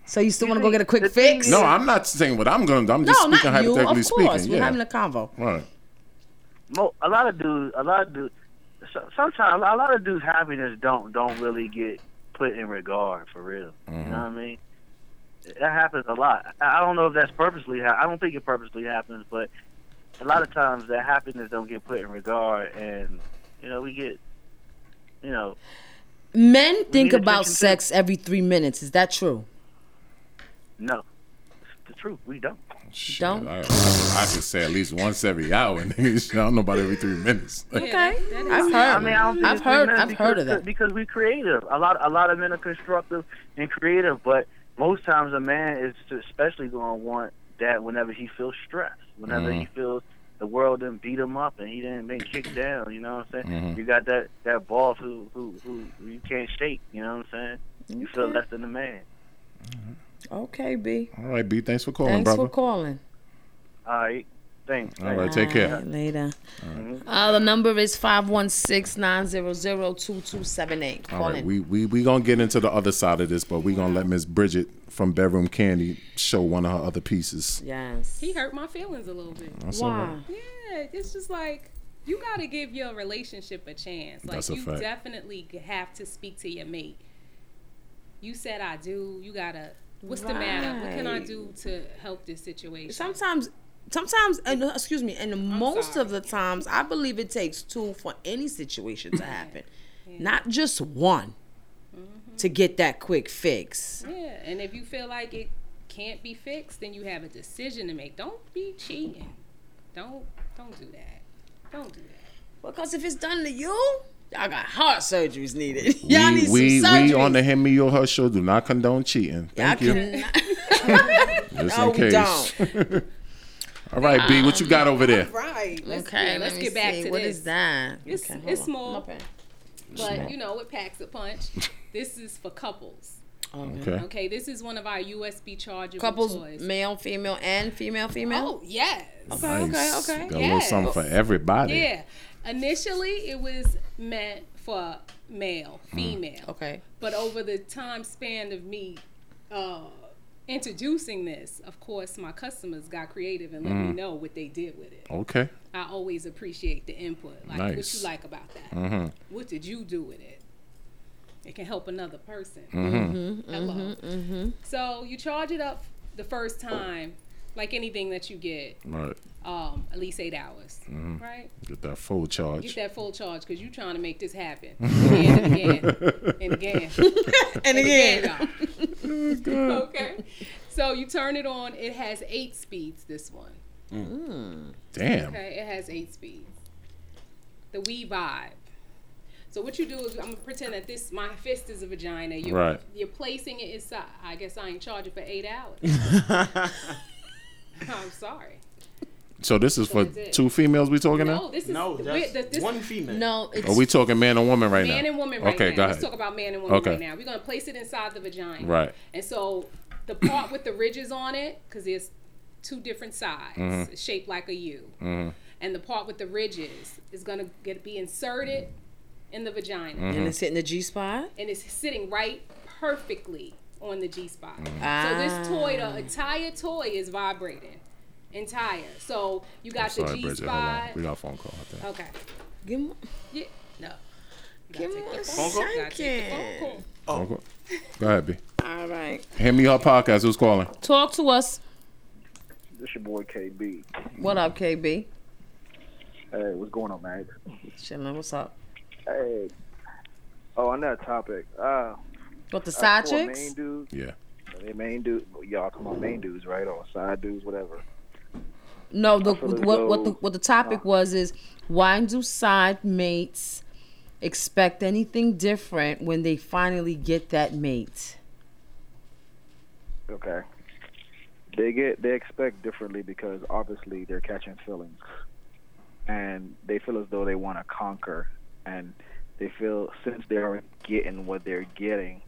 So you still want to go get a quick fix? No, I'm not saying what I'm going to. I'm no, just speaking not you. Of hypothetically course. speaking. We're yeah. having a convo. right. Mo- a lot of dudes, a lot of dudes, so- sometimes a lot of dudes' happiness don't don't really get put in regard for real. You Mm-hmm. know what I mean? That happens a lot. I I don't know if that's purposely. Ha- I don't think it purposely happens, but a lot of times that happiness don't get put in regard, and you know we get, you know, Men think need about attention, too. sex every three minutes. Is that true? no. It's the truth. We don't. Shit, Don't. I, I, I could say at least once every hour, <laughs> and I don't know about every three minutes. Like, Okay. I've heard. I mean, I don't think I've it's three heard- minutes I've because, heard of that. because we creative. A lot, a lot of men are constructive and creative, but most Mm-hmm. Mm-hmm. times a man is especially going to want that whenever he feels stressed, whenever he feels the world didn't beat him up and he didn't been kicked down. You know what I'm Mm-hmm. saying? You got that that boss who who who you can't shake. You know what I'm saying? You feel less than a man. Mm-hmm. Okay, B. All right, B. Thanks for calling, Thanks brother. for calling. All right, thanks. Mm-hmm. All right, take care. Alright, later. Uh, the number is 516-900-2278. Call All right, in. we we we gonna get into the other side of this, but we gonna let Miss Bridget from Bedroom Candy show one of her other pieces. yes. He hurt my feelings a little bit. That's all Why? right. Yeah, it's just like you got to give your relationship a chance. Like That's a you fact. definitely have to speak to your mate. You said I do. You gotta. What's the matter? What can I Right. do to help this situation? Sometimes sometimes and uh, excuse me, and most sorry. of the times I believe it takes two for any situation to happen. Not just one to get that quick fix. Mm-hmm. Yeah, and if you feel like it can't be fixed, then you have a decision to make. Don't be cheating. Don't don't do that. Don't do that. Because if it's done to you, y'all got heart surgeries needed. <laughs> Y'all we need we, some surgery. we on the Hemi Yo Her show do not condone cheating. y'all Thank you. cannot- <laughs> <laughs> Just No, in we case. <laughs> all right, B. What you got over there? Right. Let's, Okay, yeah, let's let me get back see. to What this. is that? It's, Okay, hold it's on. small, but you know it packs <laughs> a punch. this is for couples. Okay. Okay, this is one of our USB chargeable Couples, toys. male, female, and female, female. Oh yes. Nice. okay. Got a little something for everybody. Yeah. Initially, it was meant for male, Mm. female. Okay. But over the time span of me uh, introducing this, of course, my customers got creative and let me know what they did with it. Mm. Okay. I always appreciate the input. Like, what you Nice. Mm-hmm. like about that? What did you do with it? It can help another person. Mm-hmm. Mm-hmm. Hello. So you charge it up the first time, like anything that you get, All right. um, at least eight hours, right? Mm-hmm. Get that full Get charge. that full charge because you're trying to make this <laughs> happen again and again and again And again, again, <laughs> Oh, y'all. okay. So you turn it on. It has eight speeds. This one. Mm. Damn. Okay. It has eight speeds. The Wii Vibe. So what you do is I'm gonna pretend that this my fist is a vagina. You're, Right. You're placing it inside. I guess I ain't charging for <laughs> eight hours. I'm sorry. So this is for That's it. two females we talking No, now? this is No, we're- that's the- this- one female. no, it's Are we talking man and woman right now? man and woman right okay, now. go Let's ahead. talk about man and woman Okay. right now. We're gonna place it inside the vagina. Right. And so the part with the ridges on it, because there's two different sides, Mm-hmm. it's shaped like a U. And the part with the ridges is gonna get be inserted in the vagina, Mm-hmm. and it's hitting the G spot. and it's sitting right perfectly on the G spot. Mm-hmm. So Ah. this toy, the entire toy, is vibrating. Entire. So you got the Sorry, G Bridget. Hold on. spot. We got a phone call. I think. Okay. Give me, Yeah. No. give me a call? Phone second. call. Phone call? Go ahead, B. All right, Hand me your podcast. Who's calling? talk to us. This your boy KB. What up, KB? Hey, what's going on, man? Chillin', what's up? Hey. Oh, on that topic, uh, What the side for main chicks? dudes, Yeah. they main dudes, y'all come on, main dudes, right? Or side dudes, whatever. No, the feel as what what the though- what the Uh. topic was is why do side mates expect anything different when they finally get that mate? Okay. They get they expect differently because obviously they're catching feelings, and they feel as though they want to conquer, and they feel since they're getting what they're getting,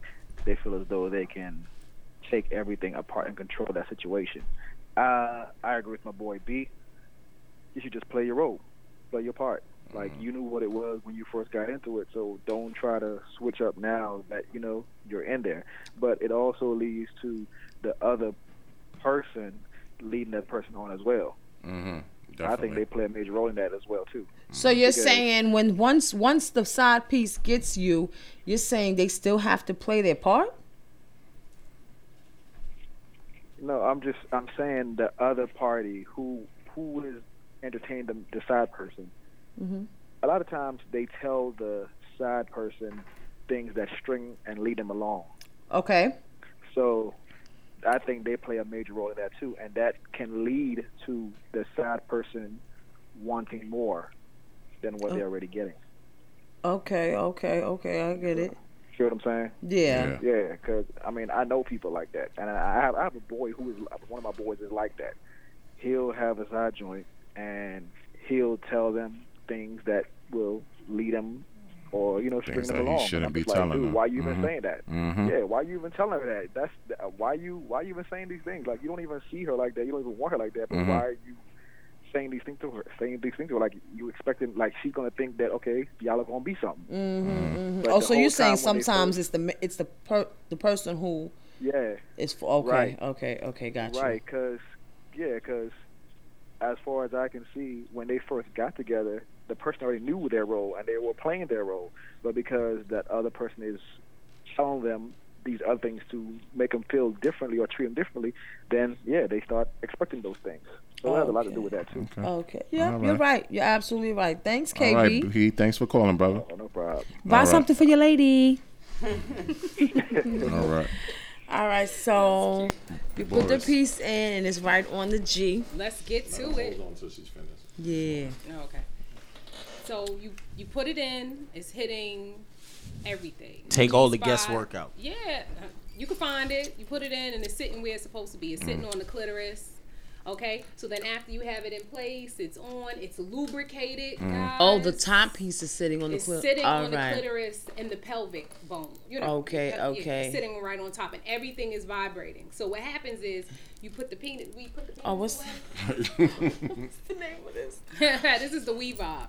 they feel as though they can take everything apart and control that situation. Uh, I agree with my boy B. You should just play your role, play your part. Like you knew what it was when you first got into it, so don't try to switch up now that you know you're in there. But it also leads to the other person leading that person on as well. Mm-hmm. I think they play a major role in that as well too. So you're Because- saying when once once the side piece gets you, you're saying they still have to play their part? No, I'm just I'm saying the other party who who is entertaining the, the side person. Mm-hmm. A lot of times they tell the side person things that string and lead them along. Okay. So I think they play a major role in that too, and that can lead to the side person wanting more than what they're already getting. Okay, okay, okay. I get it. See what I'm saying? Yeah. Yeah, because I mean I know people like that, and I have I have a boy who is one of my boys is like that. He'll have a side joint, and he'll tell them things that will lead them or you know string Things them that he along. And shouldn't I'm be just like, telling dude, them. Why you even Mhm. saying that? Mhm. Yeah, why you even telling her that? That's uh, why you why you even saying these things? Like you don't even see her like that. You don't even want her like that. But Mhm. why are you saying these things to her? Saying these things to her like you expecting like she's gonna think that okay y'all are gonna be something. Mm-hmm. But Oh, the so you're whole saying time when they sometimes it's the ma- it's the per, the person who Yeah. is for okay, Right. okay, okay, gotcha. Right, 'cause yeah, 'cause as far as I can see, when they first got together, the person already knew their role and they were playing their role, but because that other person is telling them these other things to make them feel differently or treat them differently, then yeah, they start expecting those things. So it has a lot to do with that too. Okay. Yeah, All you're right. right. You're absolutely right. Thanks, All KB. right, he. Thanks for calling, brother. Oh, no problem. Buy All right. something for your lady. <laughs> All right. All right, so you put the Boris. piece in and it's right on the G. Let's get to it. Yeah. Oh, okay. So you you put it in. It's hitting everything. Take all the Spot. guesswork out. Yeah, you can find it. You put it in, and it's sitting where it's supposed to be. It's Mm-hmm. sitting on the clitoris. Okay. So then after you have it in place, it's on. It's lubricated. Mm. Mm. guys. Oh, the top piece is sitting on the It's clip. sitting All on the right. clitoris and the pelvic bone. You know, Okay, the pel- okay. sitting right on top, and everything is vibrating. So what happens is you put the penis. We put the penis. Oh, what's away. what's the name of this? <laughs> this is the wee vibe.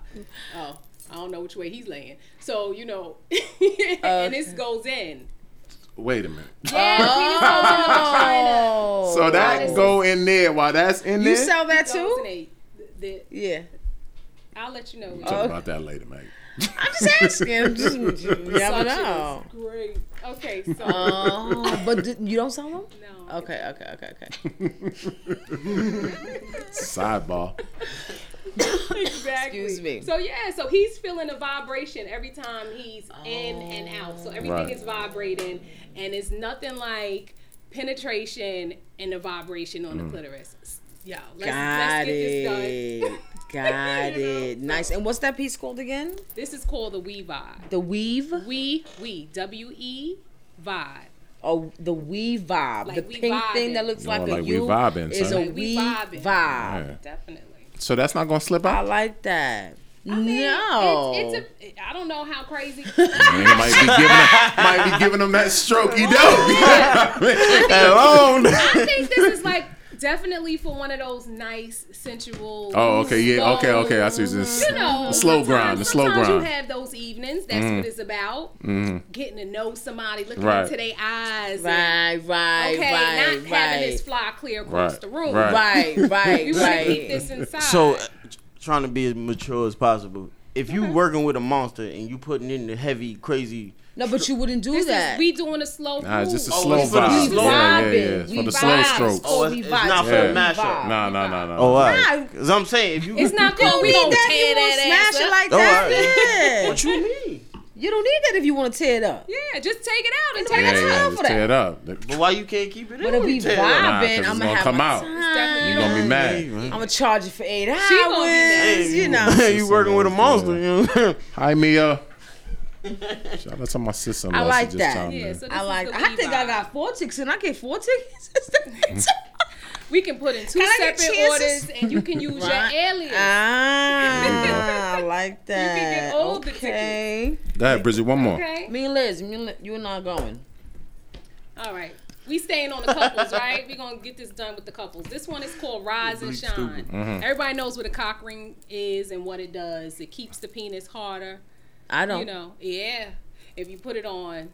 Oh, I don't know which way he's laying. So you know, <laughs> and this goes in. <laughs> Wait a minute. Yeah, penis goes in the vagina. <laughs> <laughs> Oh, So that go in there while that's in you there. sell that Goes in too? a- the- the- Yeah. I'll let you know. Which Talk about that later, mate. Oh. I'm just <laughs> asking. Just, <laughs> you never suction is know. Great. Okay, so <laughs> Oh, but d- you don't sell them? no. Okay, okay, okay, okay. Sidebar. <laughs> exactly. Excuse me. So yeah, so he's feeling a vibration every time he's in and out. So everything Right. is vibrating, and it's nothing like penetration and the vibration on the clitoris. Yo, let's, let's Mm. Got get this it. <laughs> done. Got You know, it. Nice. And what's that piece called again? This is called the wee vibe. The weave? We we W E vibe. Oh, the weave vibe. Like the we pink thing vibing. that looks No, like a like we U vibing, is son. a Like we weave vibing. vibe. Yeah. Definitely. So that's not gonna slip Ah, I out. like that. mean, no. It's, it's a, I don't know how crazy. Man, he might be giving him, might be giving him that stroke. He Oh, <laughs> don't. Alone. I think this is like definitely for one of those nice sensual. Oh, okay, yeah, okay, slow, okay. I see this. You know, The slow sometimes- grind, the slow sometimes grind. Mm-hmm. You have those evenings. That's what it's about. Getting to know somebody, looking Right. into their eyes. Right, and- right, okay, right, not having right. this fly clear across Right, the room. right. Right, <laughs> right, You want to keep right. this inside. So, uh, t- trying to be as mature as possible. If you working with a monster and you putting in the heavy, crazy, No, but you wouldn't do this that. is we doing a slow. Nah, it's just a move. Oh, slow it's for the vibe. slow- yeah, yeah, vibing. yeah. It's We for the slow vibes. strokes. Oh, Oh, it's- we it's vibe. not for the We mashup. vibe. Nah, nah, nah, nah. oh, Nah. right. Cause I'm saying if you, It's not You cool. don't We need don't that if tear you want to that smash ass it up. like Oh, that. <laughs> Yeah. what you mean? You don't need that if you want to tear it up. Yeah, just take it out and Yeah, take Yeah, it out. yeah, time just for tear that. it up. But why you can't keep it in? But if when we you tear it? Nah, 'cause vibing, it's I'm gonna gonna have come my out. time. You gonna be mad? I'm gonna charge you for eight hours. gonna be mad. You know. Hey, you working with a monster? You know? <laughs> Hi, Mia. Shout out to my sister. I like that. Yeah, so this I is like. the I Levi. think I got four tickets, and I get four tickets. <laughs> We can put in two Can I get separate chances? orders, and you can use Right. your alias. ah, I <laughs> like that. get all the okay. Go ahead, Bridget. One more. okay. Me and Liz, me and Liz, you and I are going. All right. We staying on the couples, right? We're gonna get this done with the couples. This one is called Rise and Shine. Mm-hmm. Everybody knows what a cock ring is and what it does. It keeps the penis harder. I don't. You know, yeah. If you put it on.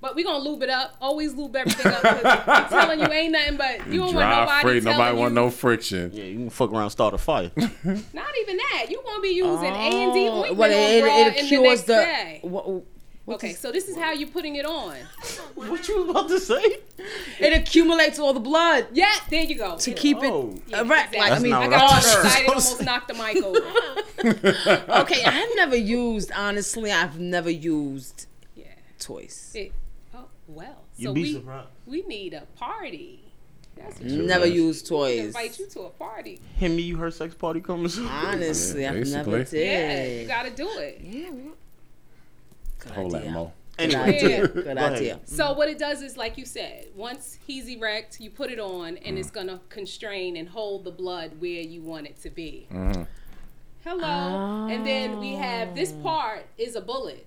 But we gonna lube it up. Always lube everything up. 'cause I'm telling you, ain't nothing but you don't want Dry nobody. free. telling Nobody want you- no friction. Yeah, you can fuck around, start a <laughs> fire. Not even that. You gonna be using A and D Oh, ointment well, on bra in the next day. wha- what's Okay, this- so this is how you putting it on. what you was about to say? it accumulates all the blood Yeah, there you go. to keep Oh. it erect. Like I That's mean, not I what I <laughs> thought got you harder. was Excited, almost knocked the mic <laughs> over. okay, I've never used. Honestly, I've never used Yeah. toys. It, oh well. You'd so be we surprised. we need a party. That's what you Never used we toys. invite you to a party. Hit me, you her sex party coming soon. Honestly, Yeah, I've never basically. Yeah, you did. gotta do it. Yeah, we don't- Good Hold that, idea. Mo. Anyway. Yeah. Good Go ahead. idea. Mm-hmm. So what it does is, like you said, once he's erect, you put it on, and it's gonna constrain and hold the blood where you want it to be. Hello. And then we have this part is a bullet,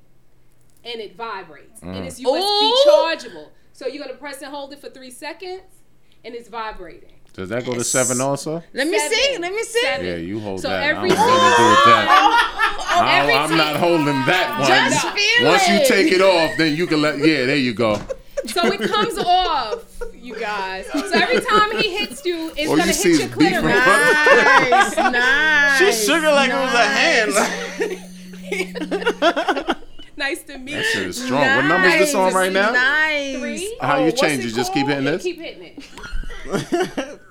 and it vibrates, and it's Mm. USB Ooh. chargeable. So you're gonna press and hold it for three seconds, and it's vibrating. Does that go to seven also? Let me see. Let me see. Yeah, you hold So that. every I don't know what to do with that. Oh, I- every I'm not holding that one. Just feel Once you it. take it off, then you can let. Yeah, there you go. So it comes off, you guys. So every time he hits you, it's All gonna you see hit is your beef clitoris. <laughs> from Nice, nice. She sugar like it was a hand. <laughs> nice to meet you. That shit is strong. What number is this on right now? Nice. Three. Oh, How you what's change it it? Just keep hitting called? this? Keep hitting it.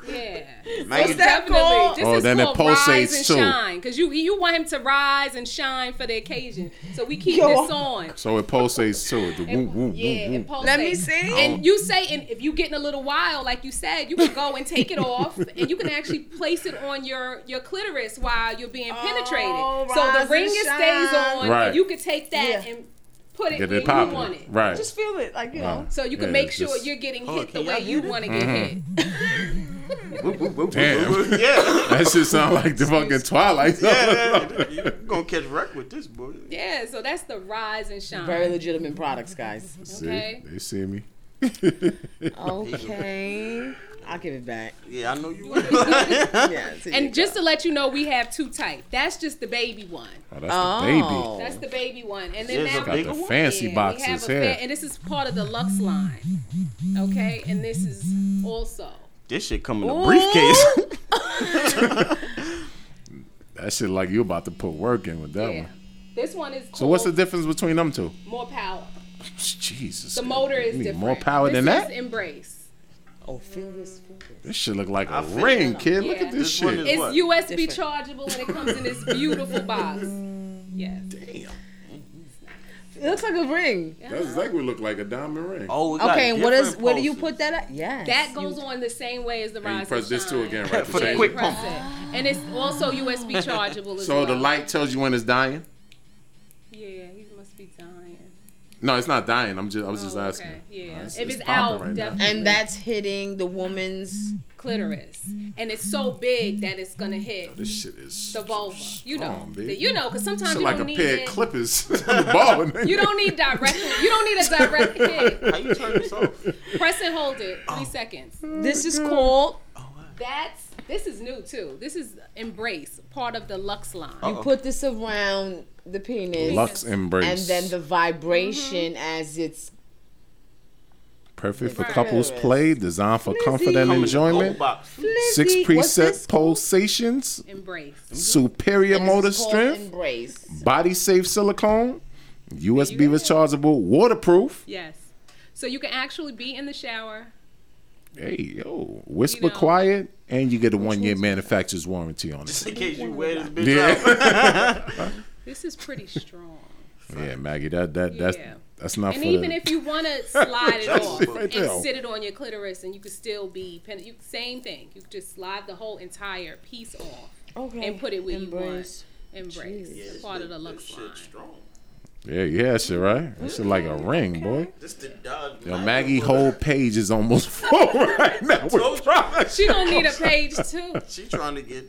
yeah. Man. So definitely. This Oh, is then it called pulsates rise and too. shine because you you want him to rise and shine for the occasion. So we keep Yo. this on. So it pulsates too. It do It- woo, woo, woo, yeah, woo. it pulsates. Let me see. And you say, and if you getting a little wild, like you said, you can go and take it off, and you can actually place it on your your clitoris while you're being penetrated. So rise the ring and it stays shine. on. Right. And you can take that and put it Get it where you popping. want it. Right. Just feel it, like you know. Wow. So you can Yeah, make it's sure just- you're getting Hold on, hit the can way y'all you do want to Mhm. get hit. Damn. <laughs> that shit sound like the fucking Twilight. Yeah, you gonna catch wreck <laughs> with this boy. Yeah. So that's the rise and <laughs> shine. Very legitimate products, guys. See, Okay. they see me. Okay. I'll give it back. Yeah, I know <laughs> you. yes, and just to let you know, we have two types. That's just the baby one. Oh, that's the baby. That's the baby one. And then There's now a bigger Got the one? fancy we boxes have a here. and this is part of the Lux line. Okay, and this is also. This shit come in a Ooh. briefcase. <laughs> <laughs> That shit like you about to put work in with that Yeah. one. <laughs> This one is So what's the called difference between them two? more power. Jesus. The motor is You need different. More power This than is that? Embrace. Oh, feel this. Feel this. This shit look like a I feel ring, it. kid. Look at this, This one shit. is It's what? USB Different. chargeable and it comes in this beautiful <laughs> box. Yes. Damn. It looks like a ring. That's exactly what it look like a diamond ring. Oh, Okay, and what is? Where do you put that at? Yes. That goes on the same way as the And you rise. press this two again, <laughs> right? to For the change quick it? Press it. And it's also USB chargeable as <laughs> So well. the light tells you when it's dying. Yeah, he must be dying. No, it's not dying. I'm just I was just Oh, asking. okay. Yeah. Oh, if it's, popping out, right now. definitely. And that's hitting the woman's clitoris, and it's so big that it's gonna hit This shit is the vulva. You know, strong, the, baby. you know, because sometimes shit you like don't a need pair of it. <laughs> clippers. <laughs> Ballin', nigga. You don't need direct. You don't need a <laughs> direct hit. How you turn this off? Press and hold it. Oh. Three seconds. This is called That's this is new too. This is embrace part of the Lux line. You put this around the penis. Lux embrace. And then the vibration Mm-hmm. as it's Perfect for Right. couples play, designed for comfort Come and in the enjoyment. gold box. Six Flizzy. What's this preset pulsations, embrace. superior and it's motor called strength, Embrace. body safe silicone, USB rechargeable, waterproof. Yes. So you can actually be in the shower. Hey, yo, whisper quiet, and you get a one year manufacturer's warranty on it. Just in case you wear this bitch Yeah. <laughs> out. This is pretty strong. Yeah, Maggie, that that Yeah. that's that's not and for even the, if you want to slide it That off shit right and there. sit it on your clitoris, and you could still be pen- you, same thing. You could just slide the whole entire piece off Okay. and put it where Embrace. you want. Embrace Jeez. It's part of the lux line. Yeah, yeah, that shit right. That shit like a Mm-hmm. ring, boy. This the dog. Yo, Maggie whole page is almost <laughs> full right now. with products. She don't need a page too. <laughs> She trying to get.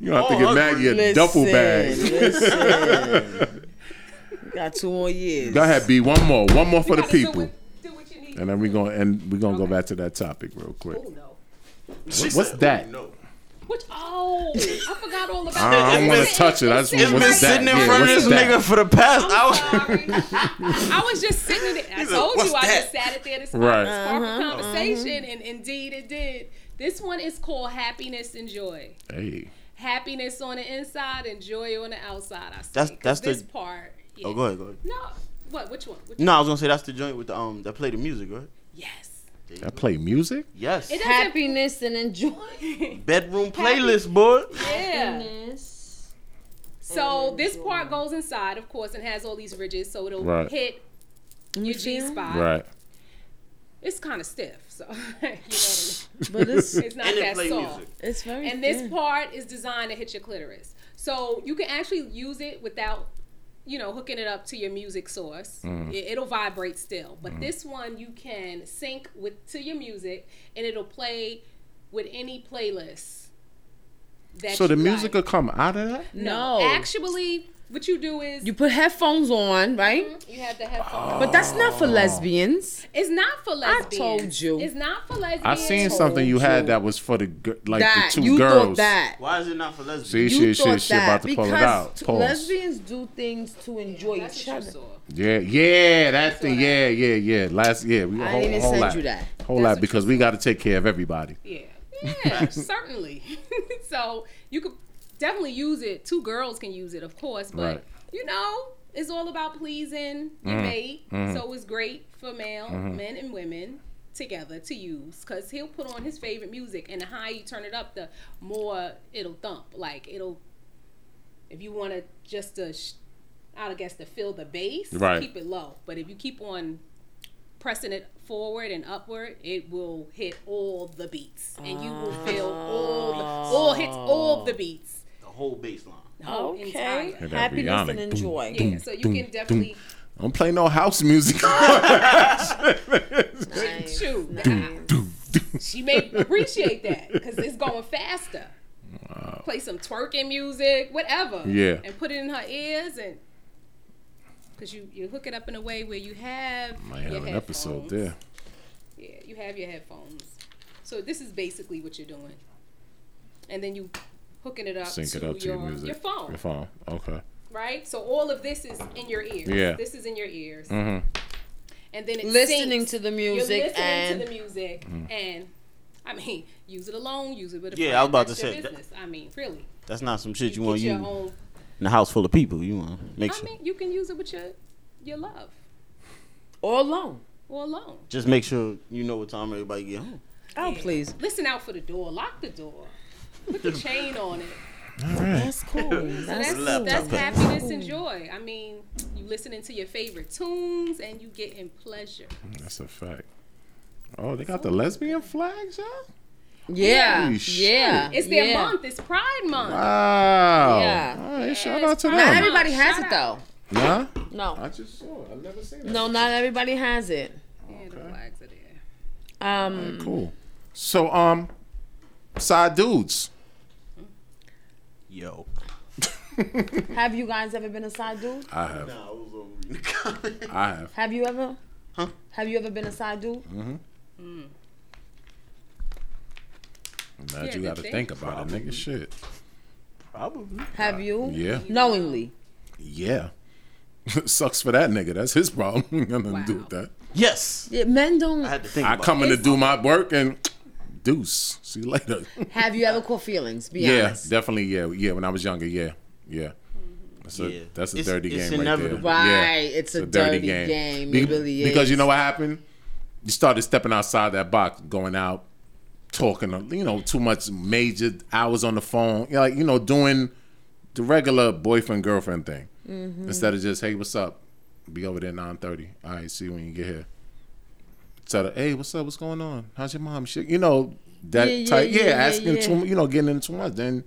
You gonna have to all Oh, get hungry. Maggie a duffel bag. listen. Got two more years. <laughs> Go ahead, B. One more, one more for the people, Do what you need. and then we gonna and we gonna go back to that topic real quick. Oh no. What- what's that? Which oh, I forgot all about that. I don't want to touch it. I just want what's that? sitting in Yeah, front of what's this that? nigga for the past hour. I was just sitting there. I He's like, told "What's you I that?" just sat it there to spark, Right. spark Uh-huh, a conversation, and indeed it did. This one is called happiness and joy. Hey, Happiness on the inside and joy on the outside. I say. That's- 'Cause that's the- this part. yeah. Oh, go ahead, go ahead. No, what? Which one? Which No, I was gonna say that's the joint with the um that play the music, right? Yes. I play music. Yes. It doesn't- Happiness and <laughs> enjoy. Bedroom playlist, boy. Yeah. So this part goes inside, of course, and has all these ridges, so it'll Right. hit your G spot. Right. It's kind of stiff, so <laughs> you know what I mean. But it's- it's not And it that play soft. music. It's very And this thin. part is designed to hit your clitoris, so you can actually use it without you know, hooking it up to your music source. Mm. Mhm. It, it'll vibrate still. But Mhm. this one you can sync with to your music and it'll play with any playlist. that So the you music will come out of that. No. No. Actually, what you do is You put headphones on, right? you have the headphones. But that's not for lesbians. It's not for lesbians. told you. It's not for lesbians. I seen something you had that was for the gir- like That- the two you thought girls. that. Why is it not for lesbians? See, she, she, she about to pull it because out. t- Pause. lesbians do things to enjoy each other. Yeah, yeah, that thing. Yeah, yeah, yeah. Last, yeah, we I whole, didn't whole send lot, you that. Whole lot because we got to take care of everybody. Yeah. Yeah, certainly. <laughs> so you could definitely use it. Two girls can use it, of course, but Right. you know, it's all about pleasing your Mhm. mate. Mhm. So it's great for male Mhm. men and women together to use because he'll put on his favorite music, and the higher you turn it up, the more it'll thump. Like it'll, if you want to just to, sh- I guess to fill the bass, Right. keep it low. But if you keep on pressing it forward and upward, it will hit all the beats, and you will feel all the, all hits, all the beats. The whole baseline. Oh, Okay. Yeah, that'd be Happiness and yummy. enjoy. Boom, Yeah, so you boom, can boom. definitely I don't play no house music. <laughs> shoot. She <laughs> may appreciate that because it's going faster. Play some twerking music, whatever. Yeah. and put it in her ears and. Cause you, you hook it up in a way where you have your Might have an headphones. episode there. Yeah, you have your headphones. So this is basically what you're doing, and then you hooking it up, Sync to, it up to your, your music. your phone, Your phone. Okay. right? So all of this is in your ears. Yeah. this is in your ears, Mhm. and then it Listening syncs. to the music You're listening and- to the music, Mhm. and I mean, use it alone, use it with a Yeah, friend, I was about that's to your say, that- business. I mean, really, That's not some shit you, get want you your in own. a house full of people. You want to make I sure. mean, you can use it with your your love or alone, or alone. Just make sure you know what time everybody get home. Oh, please. Listen out for the door. Lock the door. <laughs> Put the chain on it. That's cool. So that's, Laptop that's back. happiness and joy. I mean, you listening to your favorite tunes and you getting pleasure. That's a fact. Oh, they got the lesbian flags, y'all. Yeah, Holy yeah. shit. It's their Yeah. month. It's Pride Month. Wow. Yeah. All right, shout out to them. Not everybody has it Shout though. Nah. No. I just saw it. I've never seen it. No, not everybody has it. Yeah, the flags are there. Um, Cool. <laughs> So, um, side dudes. Yo. have you guys ever been a side dude? I have. Nah, I was over in the comment. I have. Have you ever? Huh? Have you ever been a side dude? Mm-hmm. Now Yeah, you got to good think thing. about it, nigga. Shit. Probably. Have you? Yeah. Knowingly. Yeah. <laughs> Sucks for that nigga. That's his problem. <laughs> Ain't Nothing to do with that. Yes. Yeah, men don't. I, come in to do my work and deuce. See you later. Have you ever caught feelings? Be yeah, honest. definitely. Yeah, yeah. When I was younger, yeah, yeah. That's a Yeah. that's a It's- dirty it's game right there. inevitable. Yeah. Right, it's a dirty game. It really Because you is. know what happened? You started stepping outside that box, going out, talking. You know, too much major hours on the phone. You know, like you know, doing the regular boyfriend girlfriend thing Mm-hmm. Mhm. instead of just hey, what's up? Be over there nine thirty. All right, see you when you get here. Instead of hey, what's up? What's going on? How's your mom? Shit, you know that Yeah, yeah, type. Yeah, yeah, yeah, asking yeah. too. mu- You know, getting into too much. Then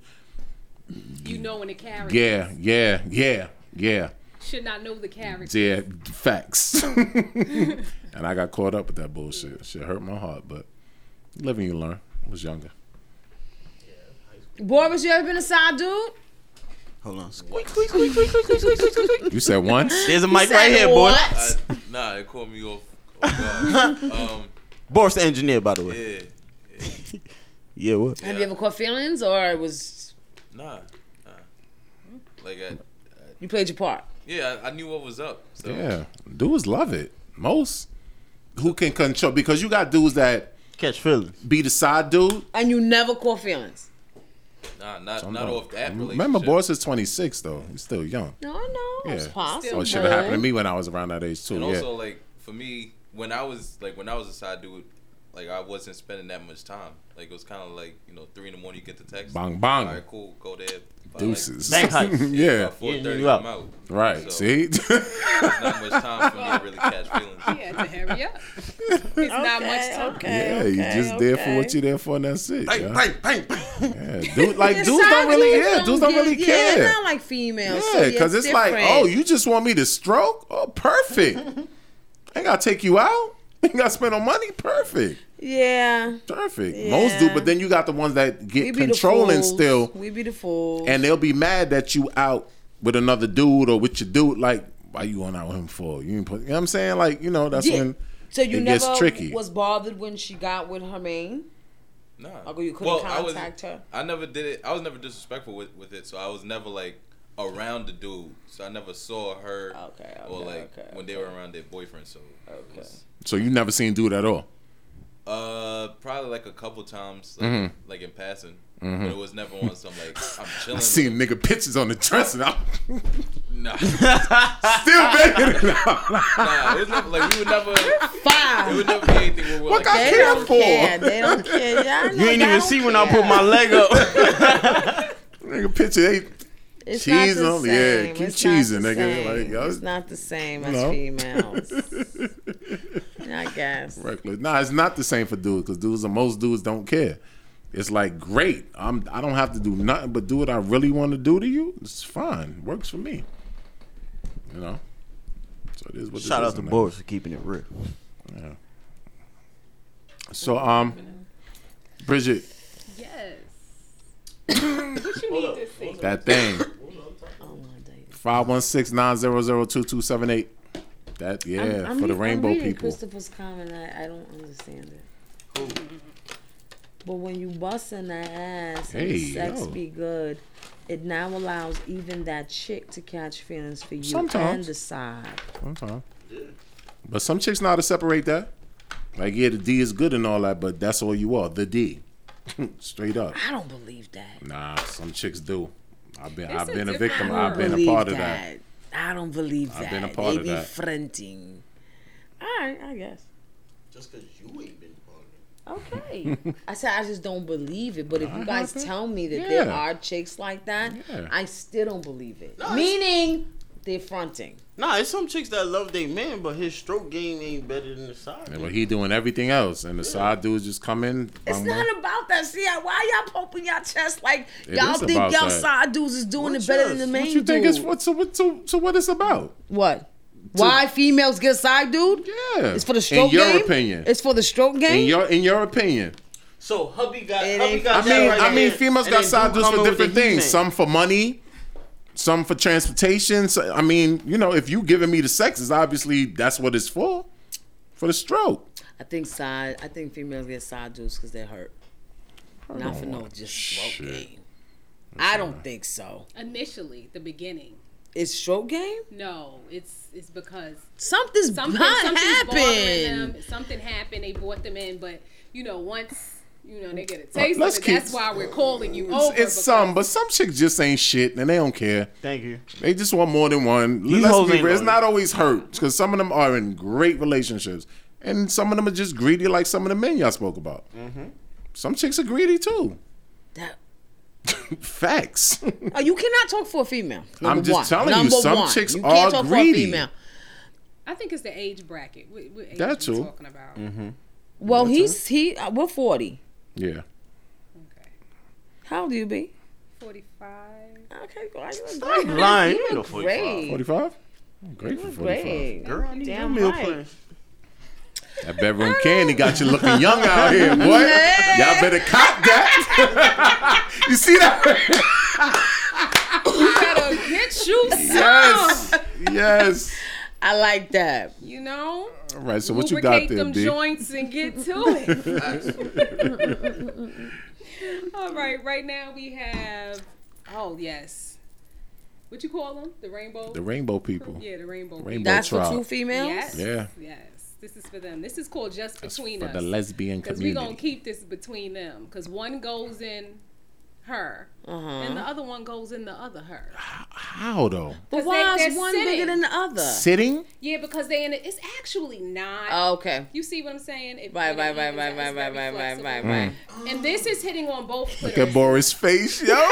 You know when the character yeah, yeah, yeah, yeah. should not know the character. Yeah, facts. <laughs> and I got caught up with that bullshit. Shit hurt my heart, but you live and you learn. I was younger. Boy, was you ever been a side dude? Hold on. You said once. There's a mic right here, boy. what? I, nah, it caught me off. <laughs> off guard. um, Boris the engineer, by the way. <laughs> yeah, Yeah, what? Have you ever caught feelings, or it was nah, nah. Like I, you played your part? yeah, I, I knew what was up. So Yeah, dudes love it most. Who can control? Because you got dudes that catch feelings. Be the side dude. And you never caught feelings. nah, not not off that relationship. Remember, Boris is twenty six though. He's still young. No, no, Yeah, it's possible. so it should have happened to me when I was around that age too. and yeah, also like for me, when I was like when I was a side dude, like I wasn't spending that much time. Like it was kind of like you know three in the morning you get the text. Bang, bang. All right, cool. Go there. by, Deuces. Like, <laughs> yeah. Four thirty. I'm out. Right. So, See? there's not <laughs> much time for me to really catch <laughs> feelings. Yeah, to hurry up. It's not much time. yeah, you just there for what you're there for, and that's it. Bang, yeah. bang, Yeah, dude, like dudes don't Some really, dudes yeah, don't dudes don't get- really Yeah, care. it's not like females. so Yeah, because it's like, different. oh, you just want me to stroke? Oh, perfect. <laughs> I gotta take you out. <laughs> You gotta spend no money. Perfect, yeah. perfect. Most do, Yeah. but then you got the ones that We get be the controlling fools. still, We be the fools. and they'll be mad that you out with another dude or with your dude. Like, why you going out with him for? You, ain't put, you know what I'm saying? Like, you know, that's Yeah. when so you it never gets tricky. was bothered when she got with her main. No. Although you couldn't contact I was, <laughs> her. I never did it. I was never disrespectful with, with it, so I was never like around the dude. So I never saw her. or like when they were around their boyfriend. So. it was- so you never seen dude at all. uh, probably like a couple times, like, Mhm. like in passing. Mhm. But it was never on some like I'm chilling. <laughs> I with seen nigga pictures on the dresser. I'm <laughs> Nah. <laughs> still better than nah, it was never, like we would never. Ah, Fine. It would never be anything where we're What like. I They care don't for? care. They <laughs> don't care. Y'all You ain't even see when I put my leg <laughs> up. nigga picture they It's not cheesing the on yeah, same. keep It's not cheesing, the nigga. same. Like y'all it's not the same as No. <laughs> females. I guess. reckless. Nah, it's not the same for dudes because dudes, most dudes don't care. It's like great. I'm I don't have to do nothing but do what I really want to do to you. It's fine. Works for me. You know. So it is what. Shout it out is to man. Boris for keeping it real. Yeah. So um, Bridget, <coughs> Yes. what you need to see? that thing. Five one six nine zero zero two two seven eight. That yeah I'm- I'm for the re- I'm rainbow reading people. Christopher's comment. I, I don't understand it. But when you busting that ass and the Hey, sex yo. be good, it now allows even that chick to catch feelings for you and Sometimes. decide. Okay. But some chicks know how to separate that. Like, yeah, the D is good and all that, but that's all you are, the D. <laughs> Straight up. I don't believe that. Nah, some chicks do. I've been, It's I've a been a different victim. world. I've been a Believe part of that. I don't believe that. I've been a part they of be that. fronting. All right, I guess. Just because you ain't been <laughs> Okay. I said I just don't believe it. But if you That guys happened? tell me that there Yeah. are chicks like that, Yeah. I still don't believe it. No, it's- Meaning they're fronting. Nah, it's some chicks that love their man, but his stroke game ain't better than the side. And but he doing everything else, and the side dudes just come in. It's bang, not bang. about that. See, I- why y'all poking y'all chest like It y'all is think y'all about that. side dudes is doing it better than the main what you think dude? is what? So what? So, so what it's about? What? why females get side dude? Yeah. It's for the stroke In your game? opinion. It's for the stroke game. In your in your opinion. So hubby got. ain't- Hubby I got that mean, right I mean, there, females and got then side dude dues for coming with different the heat things. man. Some for money, some for transportation. So, I mean, you know, if you giving me the sex, is obviously that's what it's for, for the stroke. I think side. I think females get side dudes because they hurt. Not for no just stroke game. I don't think so. Initially, the beginning. It's stroke game. No, it's it's because Something's not bothering them. happened. Something happened. They brought them in, but you know once you know they get a taste let's of it. That's keep- why we're calling you It's, Oh, over. it's some, but some chicks just ain't shit and they don't care. Thank you. They just want more than one. These Let's hoes be ain't real. It's loyal. not always hurt because some of them are in great relationships, and some of them are just greedy, like some of the men y'all spoke about. Some chicks are greedy too. That- <laughs> Facts. <laughs> Oh, you cannot talk for a female. I'm number just one. telling you, Number some one. chicks you can't are talk For greedy. a female. I think it's the age bracket. What, what age That we too. talking about? Well, he's he. uh, We're forty. Yeah. How old do you be? Forty-five. Okay, go. I Stop lying. You ain't no 45. Great. 45? Great for 45. Great. Girl, I need Damn your meal right. plan. That bedroom candy got you looking young <laughs> out here, boy. Y'all better cop that. <laughs> you see that? You better get you some. <laughs> <laughs> yes. Yes. <laughs> I like that. You know. All right, so what you got Lubricate there, them B? joints and get <laughs> to it. All right, right now we have. Oh yes, what you call them? The rainbow. The rainbow people. Yeah, the rainbow. Rainbow people. That's for trout. two females? Yes. Yeah. Yes. This is for them. This is called just between for us. the lesbian Because we're gonna community. keep this between them. Because one goes in her, Uh-huh. and the other one goes in the other her. Ah. How though? But why is one bigger than the other? Sitting? Yeah, because they in it. It's actually not. Oh, okay. You see what I'm saying? It, Right, it right, right, right, evens out. right, It's right, very right, right, flexible. right, right. And this is hitting on <laughs> both clitoris. Mm. Look at Boris' face, yo. <laughs>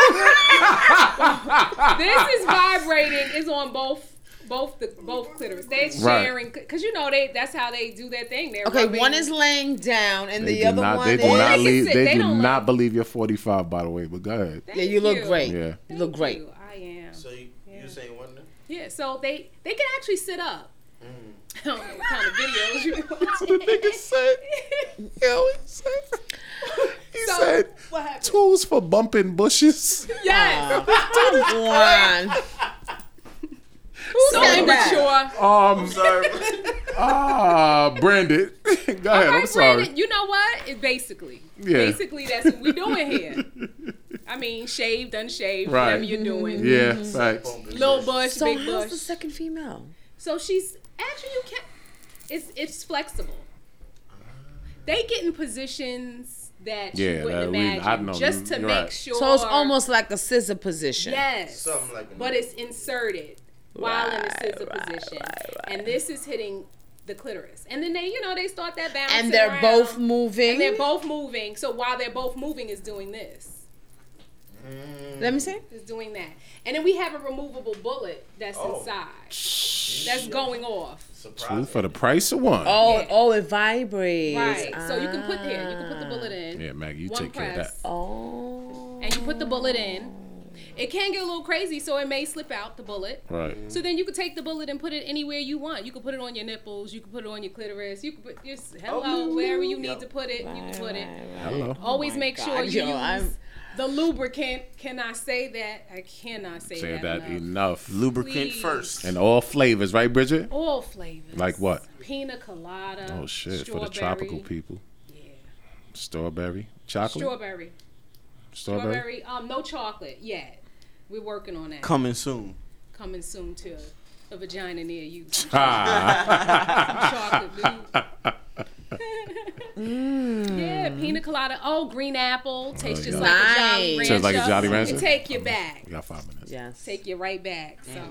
this is vibrating is on both both the both clitoris. They Right. sharing because you know they that's how they do their thing. They're Okay, rubbing- one is laying down and They the do other not, one they is. do not, leave, sit- they they do don't not believe you're 45, by the way. But go ahead. Yeah, you look great. Yeah. You look great. I am. So you, you saying what now? Yeah, so they they can actually sit up. <laughs> I don't know what kind of videos you That's what Mm. <laughs> the nigga said. Yo, he said, <laughs> he said tools for bumping bushes. Yes. <laughs> Come on. Who so said that? immature. Um, <laughs> ah, Brandon. <laughs> go ahead. I'm Alright, sorry. Brandon, you know what? It basically. Yeah. Basically that's what we're doing here. I mean, shaved, unshaved, Right. whatever you're doing. Mm-hmm. Yeah, facts. Little bush, Mm-hmm. So big how's bush. the second female? So she's actually you can it's it's flexible. They get in positions that Yeah, you wouldn't that we- imagine I Oh, know. just to You're make right. sure. So it's almost like a scissor position. yes, Something like that. but it's inserted while in the scissor position, and this is hitting the clitoris. And then they, you know, they start that bouncing. And they're around. both moving. And they're both moving. So while they're both moving, is doing this. Let me see. Is doing that, and then we have a removable bullet that's Oh. inside. That's going off. Two for the price of one. Oh, oh, it vibrates. Right. So you can put there. You can uh, put the bullet in. Yeah, Maggie, you One take care of that. press. Oh. And you put the bullet in. It can get a little crazy, so it may slip out the bullet. Right. So then you can take the bullet and put it anywhere you want. You can put it on your nipples. You can put it on your clitoris. You can put your hello wherever you need to put it. You can put it. Hello. Always my make sure God, you yo, use I'm- the lubricant. Can I say that? I cannot say, Say that. that enough. enough. Lubricant Please. first. And all flavors, right, Bridget? All flavors. Like what? Pina colada. Oh shit! For the tropical strawberry, people. Strawberry, chocolate, Strawberry. strawberry. Strawberry. Um, no chocolate yet. We're working on that. Coming soon. Coming soon to a vagina near you. <laughs> Some Ah. chocolate, <laughs> some chocolate Mm. dude. yeah, pina colada. Oh, green apple. Tastes just Oh, yeah. like a Jolly Rancher. Nice. Tastes like a Jolly Rancher? It take you back. We got five minutes. Yes. Take you right back. So,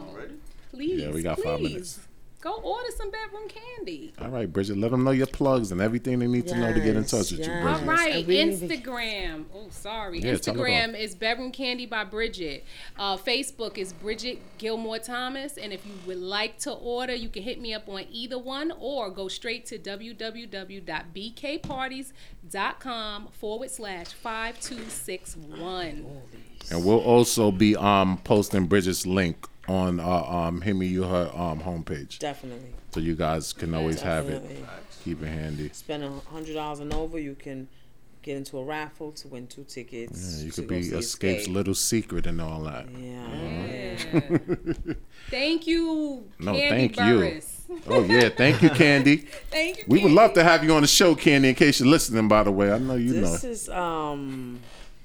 please. Yeah, we got five please, minutes. Go order some bedroom candy. All right, Bridget. Let them know your plugs and everything they need to know to get in touch with you, All Bridget. right, really Instagram. Oh, sorry. Yeah, tell her Instagram is Bedroom Candy by Bridget. Uh, Facebook is Bridget Gilmore Thomas. And if you would like to order, you can hit me up on either one or go straight to www.bkparties.com forward slash 5261. And we'll also be um posting Bridget's link on uh, um him and you her um homepage. Definitely. So you guys can always have Definitely. it. Keep it handy. Spend a hundred dollars and over, you can get into a raffle to win two tickets. Yeah, you to could go be see Escape's Escape. little secret and all that. Mm. Yeah. Thank you. <laughs> no, Candy thank Burris. you. <laughs> Oh yeah, thank you, Candy. <laughs> Thank you. We would love to have you on the show, Candy, in case you're listening, by the way. I know you This know. is um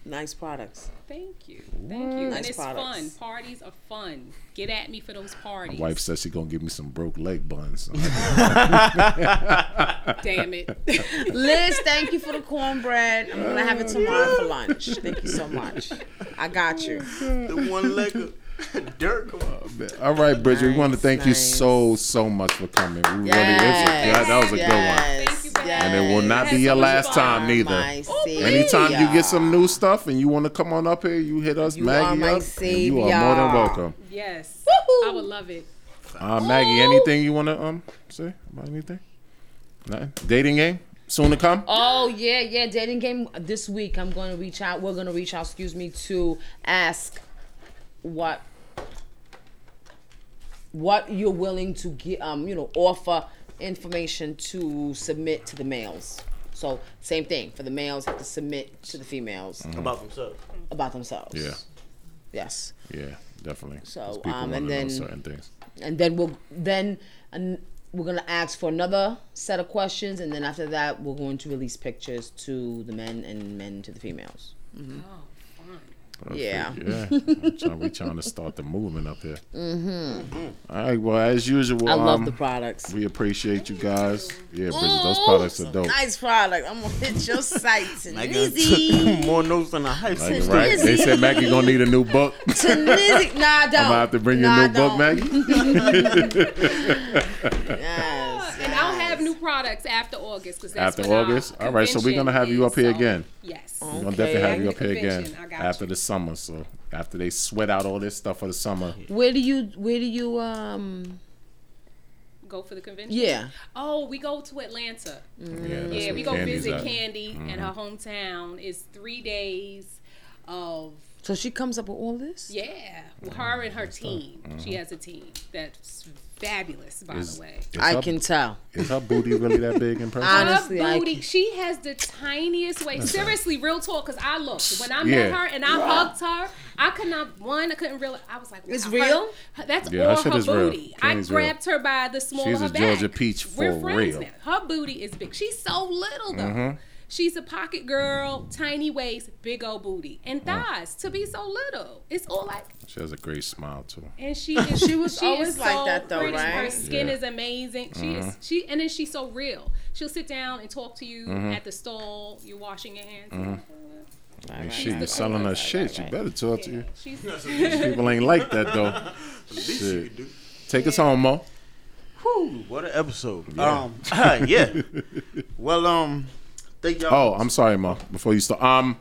nice products. Thank you. Thank you. and Nice it's products. fun. Parties are fun. Get at me for those My parties. wife says she's gonna give me some broke leg buns. <laughs> Damn it. Liz, thank you for the cornbread. I'm gonna have it tomorrow for lunch. Thank you so much. I got you. The one leg <laughs> of dirt. All right, Bridget, we want to thank you so, so much for coming. We really, it was a, that, that was a good one. And it will not be your last time neither. Oh, Anytime you get some new stuff and you want to come on up here, you hit us, You are Maggie. my up, and you are more than savior. welcome. Yes. I would love it. Uh, Maggie, anything you want to um say about anything? Nothing. Dating game soon to <laughs> come. Oh yeah, yeah. Dating game this week. I'm going to reach out. We're going to reach out. Excuse me to ask what what you're willing to get. Um, you know, offer information to submit to the males. So same thing for the males have to submit to the females Mhm. About themselves. About themselves. Yeah. Yes. Yeah, definitely. 'Cause So people um, wanna and know then certain things. and then we'll then and we're gonna ask for another set of questions, and then after that, Mm-hmm. we're going to release pictures to the men and men to the females. Oh, fun. Yeah. Yeah. I'm trying- <laughs> we trying to start the movement up here. Mm-hmm. All right. Well, as usual, I love um, the products. We appreciate you guys. Yeah, Bridget, those Ooh, products are dope. Nice product. I'm gonna hit your <laughs> sites and Nigga took <laughs> Lizzie. more notes than a high Like, school. right? They said Maggie <laughs> gonna need a new book. <laughs> To <laughs> Lizzie. Nah, I'm gonna have don't. to bring you Nah, a new book, <laughs> <laughs> Maggie. And I'll have new products after August because that's After when our August. All right, so we're gonna convention have you is, up here so- again. Yes. We're gonna definitely have you up here again Convention, I got after the summer. So after they sweat out all this stuff for the summer. Where do you where do you um you. Go for the convention. Yeah. Oh, we go to Atlanta. Mm. Yeah, that's we where go Candy's visit at. Candy in Mhm. her hometown. It's three days of so she comes up with all this? yeah, her and her team. Mm-hmm. She has a team that's fabulous, by Is- the way. is I her- can tell. Is her booty really that big in person? Honestly, her I booty, she has the tiniest waist. Listen. Seriously, real talk, because I looked when I Yeah. met her and I hugged her. I could not one. I couldn't realize. I was like, It's wow, real? her- that's Yeah, her all shit her is real. booty. Candy's I real. grabbed her by the small She's of her a back. Georgia peach We're for friends real. now. Her booty is big. She's so little though. Mhm. She's a pocket girl, tiny waist, big old booty, and thighs to be so little. It's all like She has a great smile too. and she is, She <laughs> was is always like so that, though, pretty. Her right? skin Yeah. is amazing. She is Mhm. she and then she's so real. She'll sit down and talk to you Mhm. at the stall. You're washing your hands. Mhm. I mean, shit, right, you selling her shit. You better talk to you. <laughs> She's These people ain't like <laughs> that though. least you Shit. Take us home, Mo. Whew, what an episode. Yeah. Um, <laughs> yeah. Well, um, thank y'all. Oh, I'm sorry, Ma. Before you start, um,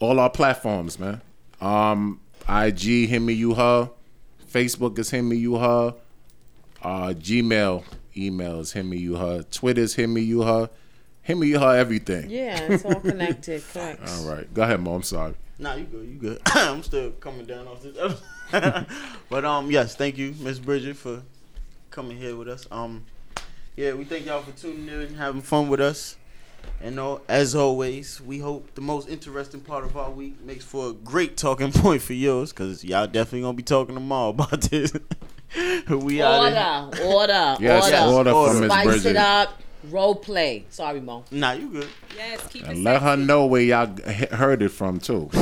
all our platforms, man. Um, IG, him me you her. Facebook is him me you her. Uh, Gmail email is him me you her. Twitter's him me you her. Him me you her everything. Yeah, <laughs> it's <laughs> all connected. Correct. All right, go ahead, Mo. I'm sorry. Nah, you good. You good. <coughs> I'm still coming down off this episode. <laughs> but um, yes, thank you, Miss Bridget, for coming here with us. Um, yeah, we thank y'all for tuning in, having fun with us, and all, as always, we hope the most interesting part of our week makes for a great talking <laughs> point for yours, cause y'all definitely gonna be talking tomorrow about this. <laughs> we out. here. Order, order, Yes, order, order from Miss Spice Bridget. it up. Role play. Sorry, Mo. Nah, you good. Yes, keep And let her know where y'all he- heard it from too. <laughs>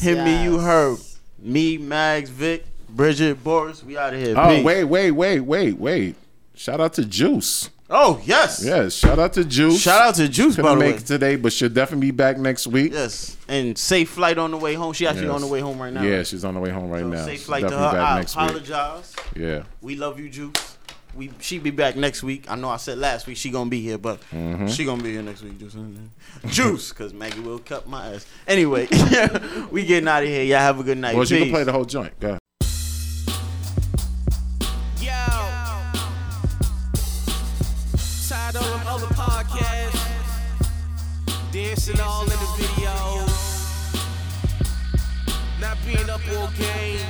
<laughs> Hit me, you heard. Me, Mags, Vic, Bridget, Boris. We out of here. Oh Peace. wait, wait, wait, wait, wait! Shout out to Juice. Oh yes. Yes, shout out to Juice. Shout out to Juice, Couldn't by the make way. it today, but she'll definitely be back next week. Yes, and safe flight on the way home. She actually Yes. on the way home right now. Yeah, she's on the way home right now. Safe She's flight to her. definitely back I next week. apologize. Yeah. We love you, Juice. We she be back next week. I know I said last week she gonna be here, but Mhm. she gonna be here next week, Juice. <laughs> Juice, because Maggie will cut my ass. Anyway, <laughs> we getting out of here. Y'all have a good night. Well, she can Peace. play the whole joint. Go ahead. Tired of them other podcasts. Dancing all in the videos. Not being up all game.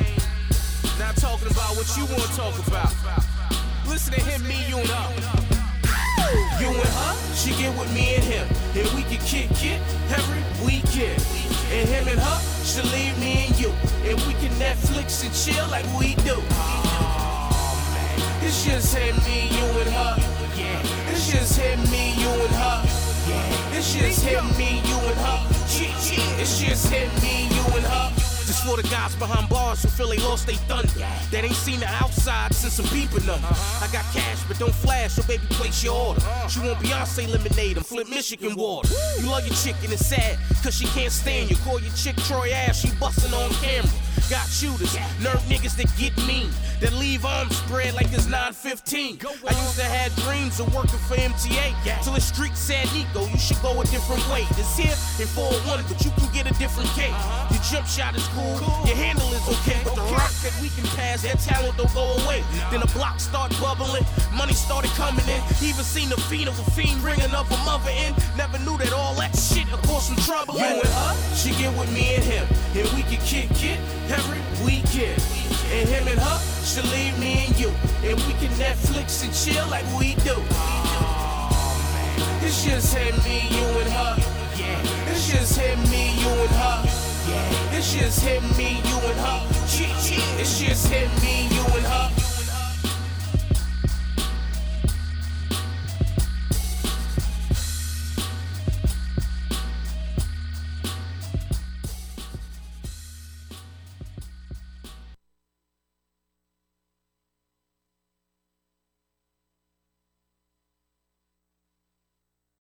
Not talking about what you want to talk about. Listen to him, me, you and her. You and her, she get with me and him. And we can kick it every weekend. And him and her, she leave me and you. And we can Netflix and chill like we do. It's just him, me, you and her. Yeah. It's just him, me, you and her. Yeah. It's just him, me, you and her. Yeah, yeah. It's just him, me, you and her. Just for the guys behind bars who feel they lost they thunder. That ain't seen the outside since a beeping them. I got cash, but don't flash, so baby, place your order. She want Beyonce lemonade and flip Michigan water. You love your chicken, it's sad, cause she can't stand you. Call your chick Troy ass, she bustin' on camera. Got shooters, nerve niggas that get mean, that leave arms spread like it's 915. I used to have dreams of working for MTA, till the street said, Nico, you should go a different way. This here in 401, but you can get a different cake. Your jump shot is Uh-huh. cool, your handle is okay, but the rock that we can pass, that talent don't go away. Then the block start bubbling, money started coming in. Even seen the fiend of a fiend ringing up a mother in. Never knew that all that shit would cause some trouble. You and her, she get with me and him, and we can kick it every weekend. And him and her, she leave me and you, and we can Netflix and chill like we do. It's just him, me, you and her. Yeah. It's just him, me, you and her. Yeah. It's just him, me, you and her. Yeah, yeah. It's just him, me, you